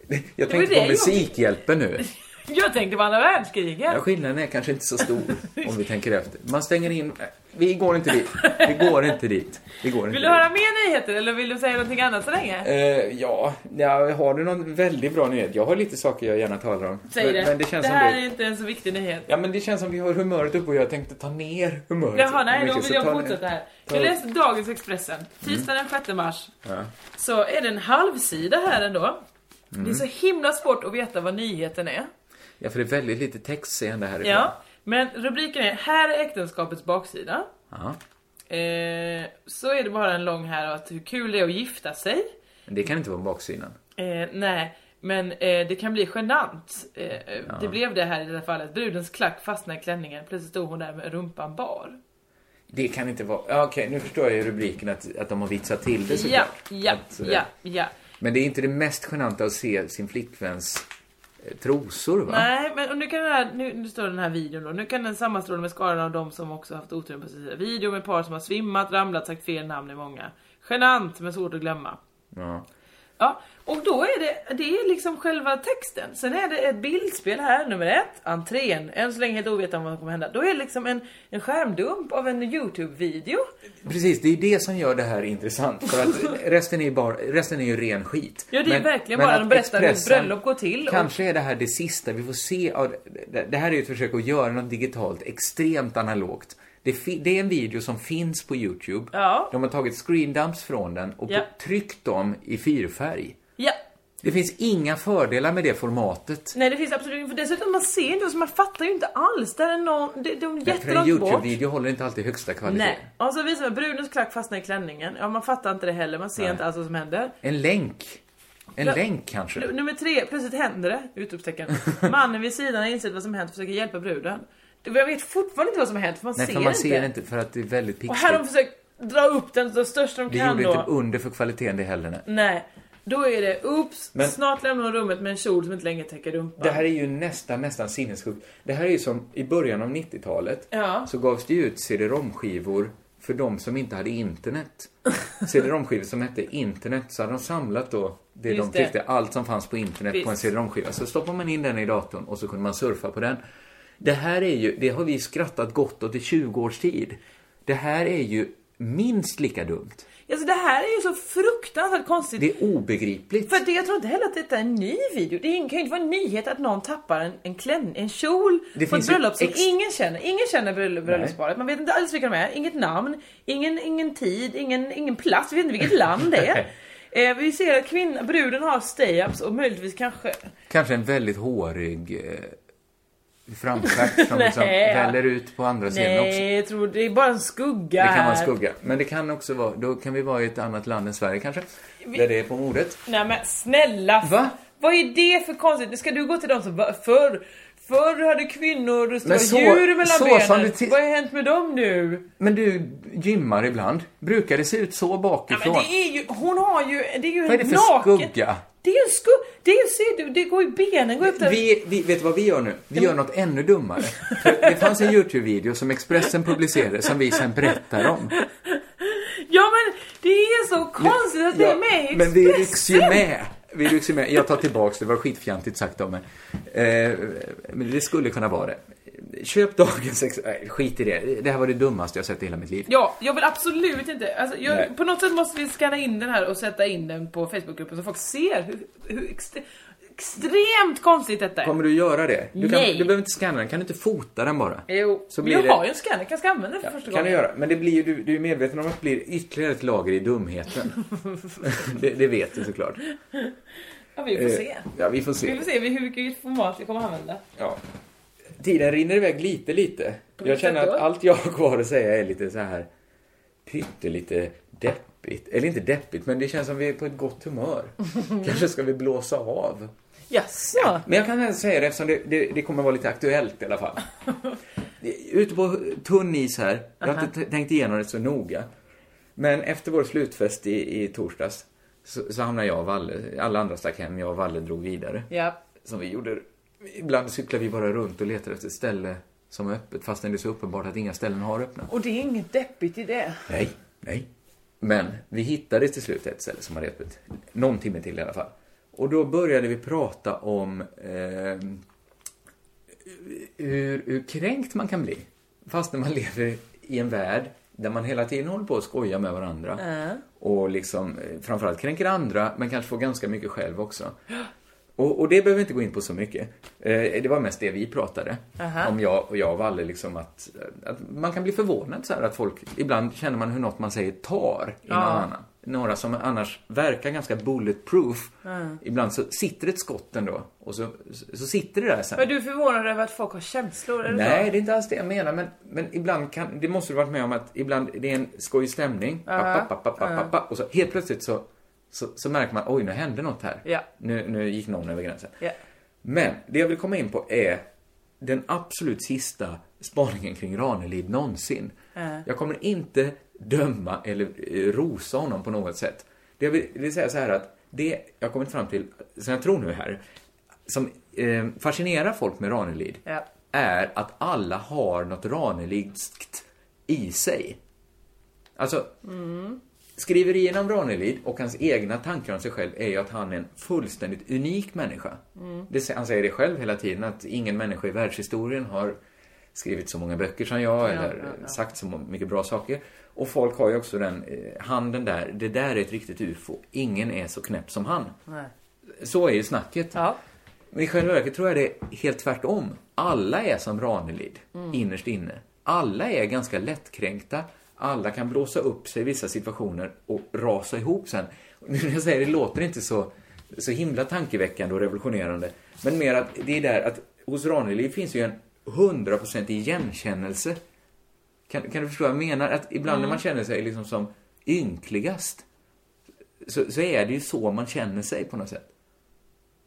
Speaker 6: Jag
Speaker 5: men det är
Speaker 6: tänkte på
Speaker 5: ju-
Speaker 6: Musikhjälpen nu.
Speaker 5: Jag tänkte på andra världskriget.
Speaker 6: Ja, skillnaden är kanske inte så stor om vi tänker efter. Man stänger in... Nej, Vi går inte dit. Vi går inte dit. Vi går inte
Speaker 5: Vill du höra mer nyheter eller vill du säga någonting annat så länge?
Speaker 6: Eh, ja, ja, har du någon väldigt bra nyhet? Jag har lite saker jag gärna talar om.
Speaker 5: Säg
Speaker 6: men,
Speaker 5: det.
Speaker 6: Men det känns som
Speaker 5: här
Speaker 6: du...
Speaker 5: är inte en så viktig nyhet.
Speaker 6: Ja, men det känns som vi har humöret uppe och jag tänkte ta ner humöret.
Speaker 5: Jaha, nej, då
Speaker 6: mycket,
Speaker 5: vill
Speaker 6: så
Speaker 5: jag
Speaker 6: ta-
Speaker 5: fortsätta här.
Speaker 6: ta-
Speaker 5: Jag läste dagens Expressen, tisdag den 6 mars.
Speaker 6: Ja.
Speaker 5: Så är det en halvsida här ändå. Det är så himla svårt att veta vad nyheten är.
Speaker 6: Ja, för det är väldigt lite textseende härifrån.
Speaker 5: Ja, men rubriken är Här är äktenskapets baksida.
Speaker 6: Ja.
Speaker 5: Eh, så är det bara en lång här att hur kul det är att gifta sig.
Speaker 6: Men det kan inte vara baksidan.
Speaker 5: Eh, nej, men eh, det kan bli genant. Eh, eh, Det blev det här i det här fallet. Brudens klack fastnade i klänningen. Plötsligt stod hon där med rumpan bar.
Speaker 6: Det kan inte vara... Ja, Okej, nu förstår jag ju rubriken att, att de har vitsat till det
Speaker 5: Ja,
Speaker 6: såklart.
Speaker 5: ja,
Speaker 6: Att, eh,
Speaker 5: ja, ja.
Speaker 6: Men det är inte det mest genanta att se sin flickväns eh, trosor, va?
Speaker 5: Nej, men och nu kan den här, nu, nu står den här videon då. Nu kan den sammanstråla med skaran av de som också haft oturen på sin sida. Video med par som har svimmat, ramlat, sagt fel namn i många. Genant, men svårt att glömma.
Speaker 6: Ja.
Speaker 5: Ja, och då är det, det är liksom själva texten. Sen är det ett bildspel här, nummer ett, entrén. Än så länge helt ovetande om vad som kommer hända. Då är det liksom en, en skärmdump av en Youtube-video.
Speaker 6: Precis, det är det som gör det här intressant. För att resten är ju, bara, resten är ju ren skit.
Speaker 5: Ja, det är verkligen bara
Speaker 6: att
Speaker 5: de berättar hur ett
Speaker 6: Expressen-
Speaker 5: bröllop går till. Och,
Speaker 6: Kanske är det här det sista vi får se av... det- Det här är ju ett försök att göra något digitalt extremt analogt. Det, fi- det är en video som finns på Youtube.
Speaker 5: Ja.
Speaker 6: De har tagit screendumps från den och
Speaker 5: Ja.
Speaker 6: tryckt dem i fyrfärg.
Speaker 5: ja.
Speaker 6: Det finns inga fördelar med det formatet.
Speaker 5: Nej det finns absolut inte. För dessutom man ser inte, så man fattar ju inte alls. Där är någon, det, de är
Speaker 6: Därför en
Speaker 5: jättelångt bort.
Speaker 6: YouTube-video håller inte alltid högsta kvalitet.
Speaker 5: Nej. Och så visar man Brunos klack fastnar i klänningen. Ja man fattar inte det heller, man ser
Speaker 6: Nej.
Speaker 5: inte alls vad som händer.
Speaker 6: En länk. En
Speaker 5: Ja.
Speaker 6: länk kanske.
Speaker 5: Nu- Nummer tre, plötsligt händer det! Utropstecken. Mannen vid sidan har insett vad som hänt och försöker hjälpa bruden. Jag vet fortfarande inte vad som har hänt för man,
Speaker 6: Nej,
Speaker 5: ser,
Speaker 6: för man
Speaker 5: inte.
Speaker 6: ser inte för att det är väldigt
Speaker 5: Och här har
Speaker 6: pixligt.
Speaker 5: de försökt dra upp den så största de
Speaker 6: Det
Speaker 5: kan
Speaker 6: gjorde
Speaker 5: då.
Speaker 6: inte under för kvaliteten det heller. Nej.
Speaker 5: Nej. Då är det oops,
Speaker 6: Men-
Speaker 5: snart lämnar hon rummet med en kjol som inte längre täcker rumpan.
Speaker 6: Det här är ju nästan, nästan sinnessjukt. Det här är ju som i början av 90-talet.
Speaker 5: Ja.
Speaker 6: Så gavs det ju ut cd-romskivor för de som inte hade internet. Cd-romskivor som hette internet. Så hade de samlat då det
Speaker 5: Just
Speaker 6: de
Speaker 5: det.
Speaker 6: tyckte, allt som fanns på internet
Speaker 5: Visst.
Speaker 6: på en cd-romskiva. Så stoppade man in den i datorn och så kunde man surfa på den. Det här är ju, det har vi skrattat gott åt i 20 års tid. Det här är ju minst lika dumt.
Speaker 5: Alltså det här är ju så fruktansvärt konstigt.
Speaker 6: Det är obegripligt.
Speaker 5: För det, jag tror inte heller att detta är en ny video. Det är- kan ju inte vara en nyhet att någon tappar en, en, klänning, en kjol
Speaker 6: Det
Speaker 5: på ett
Speaker 6: finns ju
Speaker 5: bröllop som
Speaker 6: ex-
Speaker 5: ingen känner. Ingen känner bröll- bröllopsparet. Man vet inte alls vilka de är. Inget namn, ingen, ingen tid, ingen, ingen plats. Vi vet inte vilket land det är. Eh, vi ser att kvinna, bruden har stay-ups och möjligtvis kanske...
Speaker 6: Kanske en väldigt hårig eh, framstjärt som liksom
Speaker 5: Nej.
Speaker 6: väller ut på andra sidan också.
Speaker 5: Nej, jag tror det är bara en skugga
Speaker 6: Det kan vara en
Speaker 5: här.
Speaker 6: skugga. Men det kan också vara, då kan vi vara i ett annat land än Sverige kanske. Där det är på modet.
Speaker 5: Nej men snälla!
Speaker 6: Va?
Speaker 5: Vad är det för konstigt? Nu ska du gå till dem som bara, förr, förr hade kvinnor stora
Speaker 6: Men så-
Speaker 5: djur mellan
Speaker 6: så som
Speaker 5: benen.
Speaker 6: det till-
Speaker 5: Vad har hänt med dem nu?
Speaker 6: Men du gymmar ibland. Brukar det se ut så
Speaker 5: Ja, men
Speaker 6: bakifrån?
Speaker 5: det är ju, hon har ju, det är ju
Speaker 6: Vad är
Speaker 5: en
Speaker 6: det för
Speaker 5: naken...
Speaker 6: skugga?
Speaker 5: Det är ju en skugga, det är ju, ser du, det går ju benen går upp där.
Speaker 6: Vi, vi, vet du vad vi gör nu? Vi gör något ännu dummare. För det fanns en YouTube-video som Expressen publicerade som vi sen berättar om.
Speaker 5: Ja men det är så konstigt att det är med i
Speaker 6: Men vi rycks ju
Speaker 5: Expressen.
Speaker 6: med. Vi rycks ju med. Jag tar tillbaks det, var skitfjantigt sagt av mig. Eh, men det skulle kunna vara det. Köp dagens ex... Nej, skit i det. Det här var det dummaste jag sett i hela mitt liv.
Speaker 5: Ja, jag vill absolut inte, alltså,
Speaker 6: Nej.
Speaker 5: jag, på något sätt måste vi scanna in den här och sätta in den på Facebookgruppen så folk ser hur, hur extre, extremt konstigt detta är.
Speaker 6: Kommer du göra det? Du, kan,
Speaker 5: Nej.
Speaker 6: du behöver inte scanna den, kan du inte fota den bara?
Speaker 5: Jo,
Speaker 6: Så
Speaker 5: så
Speaker 6: blir
Speaker 5: jag
Speaker 6: det-
Speaker 5: har ju en scanner, kanske ska använda den för första
Speaker 6: kan du
Speaker 5: gången.
Speaker 6: göra. Men det blir ju, du, du är medveten om att det blir ytterligare ett lager i dumheten. det, det vet du såklart.
Speaker 5: Ja, vi får
Speaker 6: Eh,
Speaker 5: se.
Speaker 6: Ja, vi får se.
Speaker 5: Vi får se hur mycket format vi kommer att använda.
Speaker 6: Ja. Tiden rinner iväg lite, lite. Jag
Speaker 5: vilket
Speaker 6: känner
Speaker 5: sätt
Speaker 6: att
Speaker 5: då?
Speaker 6: allt jag har kvar att säga är lite så här pyttelite deppigt. Eller inte deppigt, men det känns som vi är på ett gott humör. Kanske ska vi blåsa av.
Speaker 5: Jaså?
Speaker 6: Men jag kan ändå säga det eftersom det, det, det kommer vara lite aktuellt i alla fall. Ute på tunn is här. Jag har inte t- tänkt igenom det så noga. Men efter vår slutfest i, i torsdags så, så hamnade jag och Valle, alla andra stack hem, jag och Valle drog vidare
Speaker 5: Ja.
Speaker 6: som vi gjorde. Ibland cyklar vi bara runt och letar efter ett ställe som är öppet fastän det är så uppenbart att inga ställen har öppnat.
Speaker 5: Och det är inget deppigt i det.
Speaker 6: Nej, nej. Men vi hittade till slut ett ställe som hade öppet. Någon timme till i alla fall. Och då började vi prata om eh, hur, hur kränkt man kan bli. Fast när man lever i en värld där man hela tiden håller på att skoja med varandra. Och liksom eh, framförallt kränker andra, men kanske får ganska mycket själv också. Och, och det behöver vi inte gå in på så mycket. Eh, det var mest det vi pratade
Speaker 5: Aha.
Speaker 6: om, jag och jag och Valle, liksom att, att man kan bli förvånad så här att folk, ibland känner man hur något man säger tar i någon
Speaker 5: Ja.
Speaker 6: annan. Några som annars verkar ganska bulletproof. Ibland så sitter ett skott ändå och så, så så sitter det där sen.
Speaker 5: Men du är förvånad över att folk har känslor? Är det
Speaker 6: Nej,
Speaker 5: så?
Speaker 6: det är inte alls det jag menar. Men, men ibland kan, det måste du varit med om att ibland det är en skojig stämning. Papp, papp, papp, papp, papp, papp, och så helt plötsligt så, så, så märker man, oj nu hände något här.
Speaker 5: Ja.
Speaker 6: Nu, nu gick någon över gränsen.
Speaker 5: Ja.
Speaker 6: Men det jag vill komma in på är den absolut sista spaningen kring Ranelid någonsin. Jag kommer inte döma eller eh, rosa honom på något sätt. Det jag vill, vill säga så här att det jag kommit fram till, som jag tror nu här, som eh, fascinerar folk med Ranelid
Speaker 5: Ja.
Speaker 6: är att alla har något Ranelidskt i sig. Alltså, skriverierna om Ranelid och hans egna tankar om sig själv är ju att han är en fullständigt unik människa. Det, sä- han säger det själv hela tiden, att ingen människa i världshistorien har skrivit så många böcker som jag eller sagt så må- mycket bra saker. Och folk har ju också den eh, handen där, det där är ett riktigt ufo. Ingen är så knäpp som han. Så är ju snacket.
Speaker 5: Ja.
Speaker 6: Men i själva verket tror jag det är helt tvärtom. Alla är som Ranelid, innerst inne. Alla är ganska lättkränkta. Alla kan blåsa upp sig i vissa situationer och rasa ihop sen. Och Nu när jag säger det låter det inte så så himla tankeväckande och revolutionerande. Men mer att det är där att hos Ranelid finns ju en hundraprocentig igenkännelse. Kan, kan du förstå vad jag menar? Att ibland när man känner sig liksom som ynkligast så, så är det ju så man känner sig på något sätt.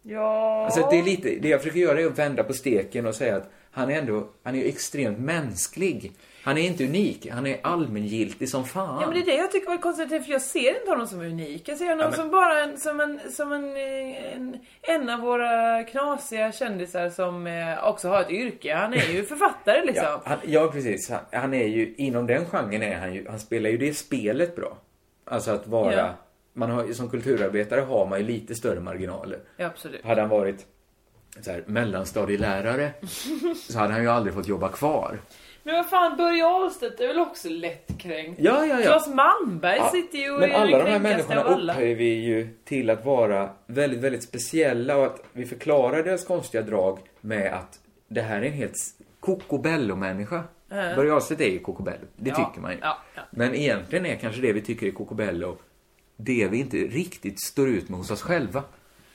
Speaker 5: Ja.
Speaker 6: Alltså det, är lite, det jag försöker göra är att vända på steken och säga att han är ändå, han är ju extremt mänsklig. Han är inte unik, han är allmängiltig som fan.
Speaker 5: Ja men det är det jag tycker var konstigt för jag ser inte honom som unik. Jag ser honom
Speaker 6: Ja, men-
Speaker 5: som bara en, som en, som en, eh, en, en av våra knasiga kändisar som eh, också har ett yrke. Han är ju författare liksom.
Speaker 6: Ja, han, ja precis. Han, han är ju, inom den genren är han ju, han spelar ju det spelet bra. Alltså att vara,
Speaker 5: Ja.
Speaker 6: man har, ju- som kulturarbetare har man ju lite större marginaler.
Speaker 5: Ja, absolut.
Speaker 6: Hade han varit så här, mellanstadielärare så hade han ju aldrig fått jobba kvar.
Speaker 5: Men vad fan, Börje Ahlstedt är väl också lättkränkt?
Speaker 6: Ja, ja, ja.
Speaker 5: Claes Malmberg
Speaker 6: Ja,
Speaker 5: sitter ju och
Speaker 6: Men
Speaker 5: är
Speaker 6: alla
Speaker 5: den
Speaker 6: de här
Speaker 5: kränkaste
Speaker 6: människorna
Speaker 5: av alla.
Speaker 6: upphöjer vi ju till att vara väldigt, väldigt speciella och att vi förklarar deras konstiga drag med att det här är en helt s- kokobello-människa.
Speaker 5: Mm.
Speaker 6: Börje Ahlstedt är ju kokobello, det
Speaker 5: Ja,
Speaker 6: tycker man ju.
Speaker 5: ja, ja.
Speaker 6: Men egentligen är kanske det vi tycker är kokobello det vi inte riktigt står ut med hos oss själva.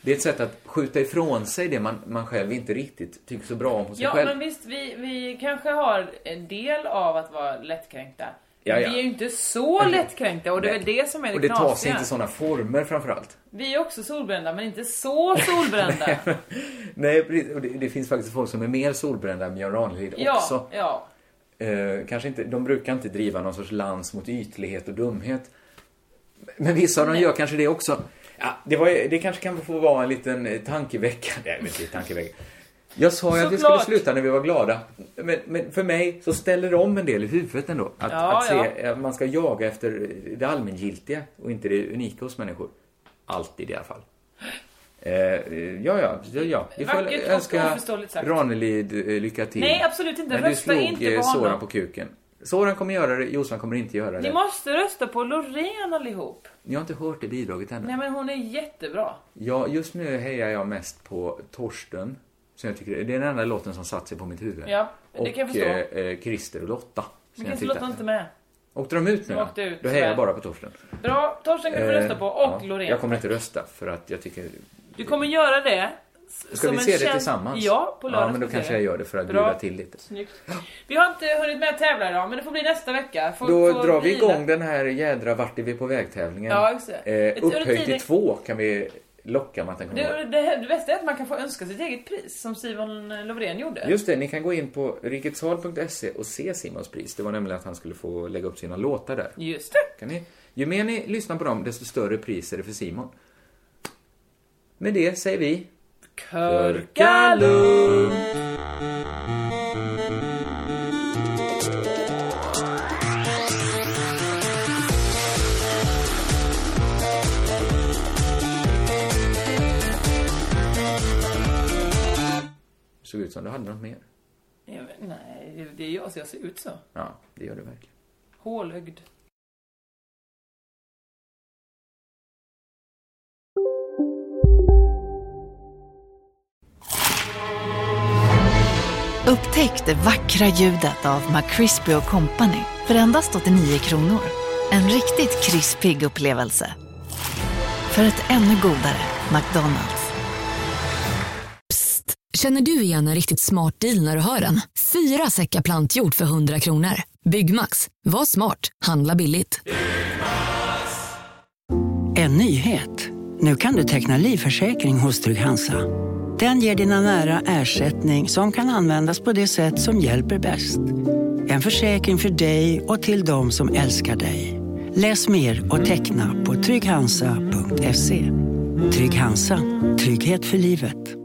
Speaker 6: Det är ett sätt att skjuta ifrån sig det man, man själv inte riktigt tycker så bra om hos sig
Speaker 5: Ja
Speaker 6: själv.
Speaker 5: men visst, vi, vi kanske har en del av att vara lättkränkta.
Speaker 6: Ja, ja.
Speaker 5: Vi är ju inte så lättkränkta och det är väl det som är det,
Speaker 6: och det tar sig
Speaker 5: knasiga.
Speaker 6: inte sådana former framförallt.
Speaker 5: Vi är också solbrända men inte så solbrända.
Speaker 6: Nej, precis. Och det, det finns faktiskt folk som är mer solbrända än Björn Ranelid också.
Speaker 5: ja, ja.
Speaker 6: Eh, kanske inte, de brukar inte driva någon sorts lans mot ytlighet och dumhet. Men vissa av dem gör kanske det också. Ja, det, var, ju- det kanske kan få vara en liten eh, tankeväckande... Nej, men inte tankeväckande. Jag sa ju att vi skulle
Speaker 5: Såklart.
Speaker 6: sluta när vi var glada. Men, men för mig så ställer det om en del i huvudet ändå. Att,
Speaker 5: Ja,
Speaker 6: att se att man ska jaga efter det allmängiltiga och inte det unika hos människor. Alltid i alla fall. Eh, eh, ja, ja, ja, ja. Vi får
Speaker 5: Vackert och
Speaker 6: önska
Speaker 5: oförståeligt sagt.
Speaker 6: Ranelid eh, lycka till.
Speaker 5: Nej, absolut inte.
Speaker 6: Men du
Speaker 5: Rösta
Speaker 6: slog
Speaker 5: inte på
Speaker 6: eh, Soran
Speaker 5: honom.
Speaker 6: på kuken. Soran kommer göra det, Jossan kommer inte göra
Speaker 5: Ni
Speaker 6: det.
Speaker 5: måste rösta på Loreen allihop.
Speaker 6: Ni har inte hört det bidraget ännu.
Speaker 5: Nej men hon är jättebra.
Speaker 6: Ja, just nu hejar jag mest på Torsten. Som jag tycker, det är den enda låten som satt sig på mitt huvud.
Speaker 5: Ja, det kan jag
Speaker 6: och
Speaker 5: förstå.
Speaker 6: eh, eh, Christer och Lotta. som
Speaker 5: Men
Speaker 6: jag
Speaker 5: kanske
Speaker 6: tyckte
Speaker 5: låter
Speaker 6: att-
Speaker 5: inte med.
Speaker 6: Åkte de ut nu?
Speaker 5: De
Speaker 6: då?
Speaker 5: åkte ut,
Speaker 6: Då hejar
Speaker 5: tyvärr.
Speaker 6: jag bara på Torsten.
Speaker 5: Bra, Torsten kan du
Speaker 6: Eh,
Speaker 5: rösta på och
Speaker 6: ja,
Speaker 5: Loreen.
Speaker 6: Jag kommer inte rösta för att jag tycker...
Speaker 5: Du kommer göra det. s-
Speaker 6: Ska
Speaker 5: som
Speaker 6: vi
Speaker 5: en
Speaker 6: se det
Speaker 5: känd-
Speaker 6: tillsammans?
Speaker 5: Ja, på lördag.
Speaker 6: Ja, men då
Speaker 5: ska vi
Speaker 6: kanske
Speaker 5: se
Speaker 6: jag
Speaker 5: det.
Speaker 6: gör det för att
Speaker 5: Bra.
Speaker 6: bjuda till lite.
Speaker 5: Snyggt. Vi har inte hunnit med att tävla idag, men det får bli nästa vecka. Får,
Speaker 6: Då
Speaker 5: får
Speaker 6: drar vi
Speaker 5: vila.
Speaker 6: igång den här jädra vart är vi på väg-tävlingen.
Speaker 5: Ja, just det.
Speaker 6: Eh, upphöjt till två kan vi locka med att den kommer
Speaker 5: Det, det, det bästa är att man kan få önska sitt eget pris, som Simon Lovren gjorde.
Speaker 6: Just det, ni kan gå in på riketshal.se och se Simons pris. Det var nämligen att han skulle få lägga upp sina låtar där.
Speaker 5: Just det.
Speaker 6: Kan ni? Ju mer ni lyssnar på dem, desto större pris är det för Simon. Med det säger vi...
Speaker 5: Körka
Speaker 6: Såg ut som du hade något mer.
Speaker 5: Ja, men Nej, det- det är jag, så jag ser ut så.
Speaker 6: Ja, det gör du verkligen.
Speaker 5: Hålögd.
Speaker 11: Upptäck det vackra ljudet av McCrispy Company för endast 89 kronor. En riktigt krispig upplevelse. För ett ännu godare McDonalds.
Speaker 12: Känner du igen en riktigt smart deal när du hör den? Fyra säckar plantjord för 100 kronor. Byggmax. Var smart. Handla billigt.
Speaker 13: En nyhet. Nu kan du teckna livförsäkring hos Trygg-Hansa. Den ger dina nära ersättning som kan användas på det sätt som hjälper bäst. En försäkring för dig och till de som älskar dig. Läs mer och teckna på trygghansa.se. Trygg-Hansa. Trygghet för livet.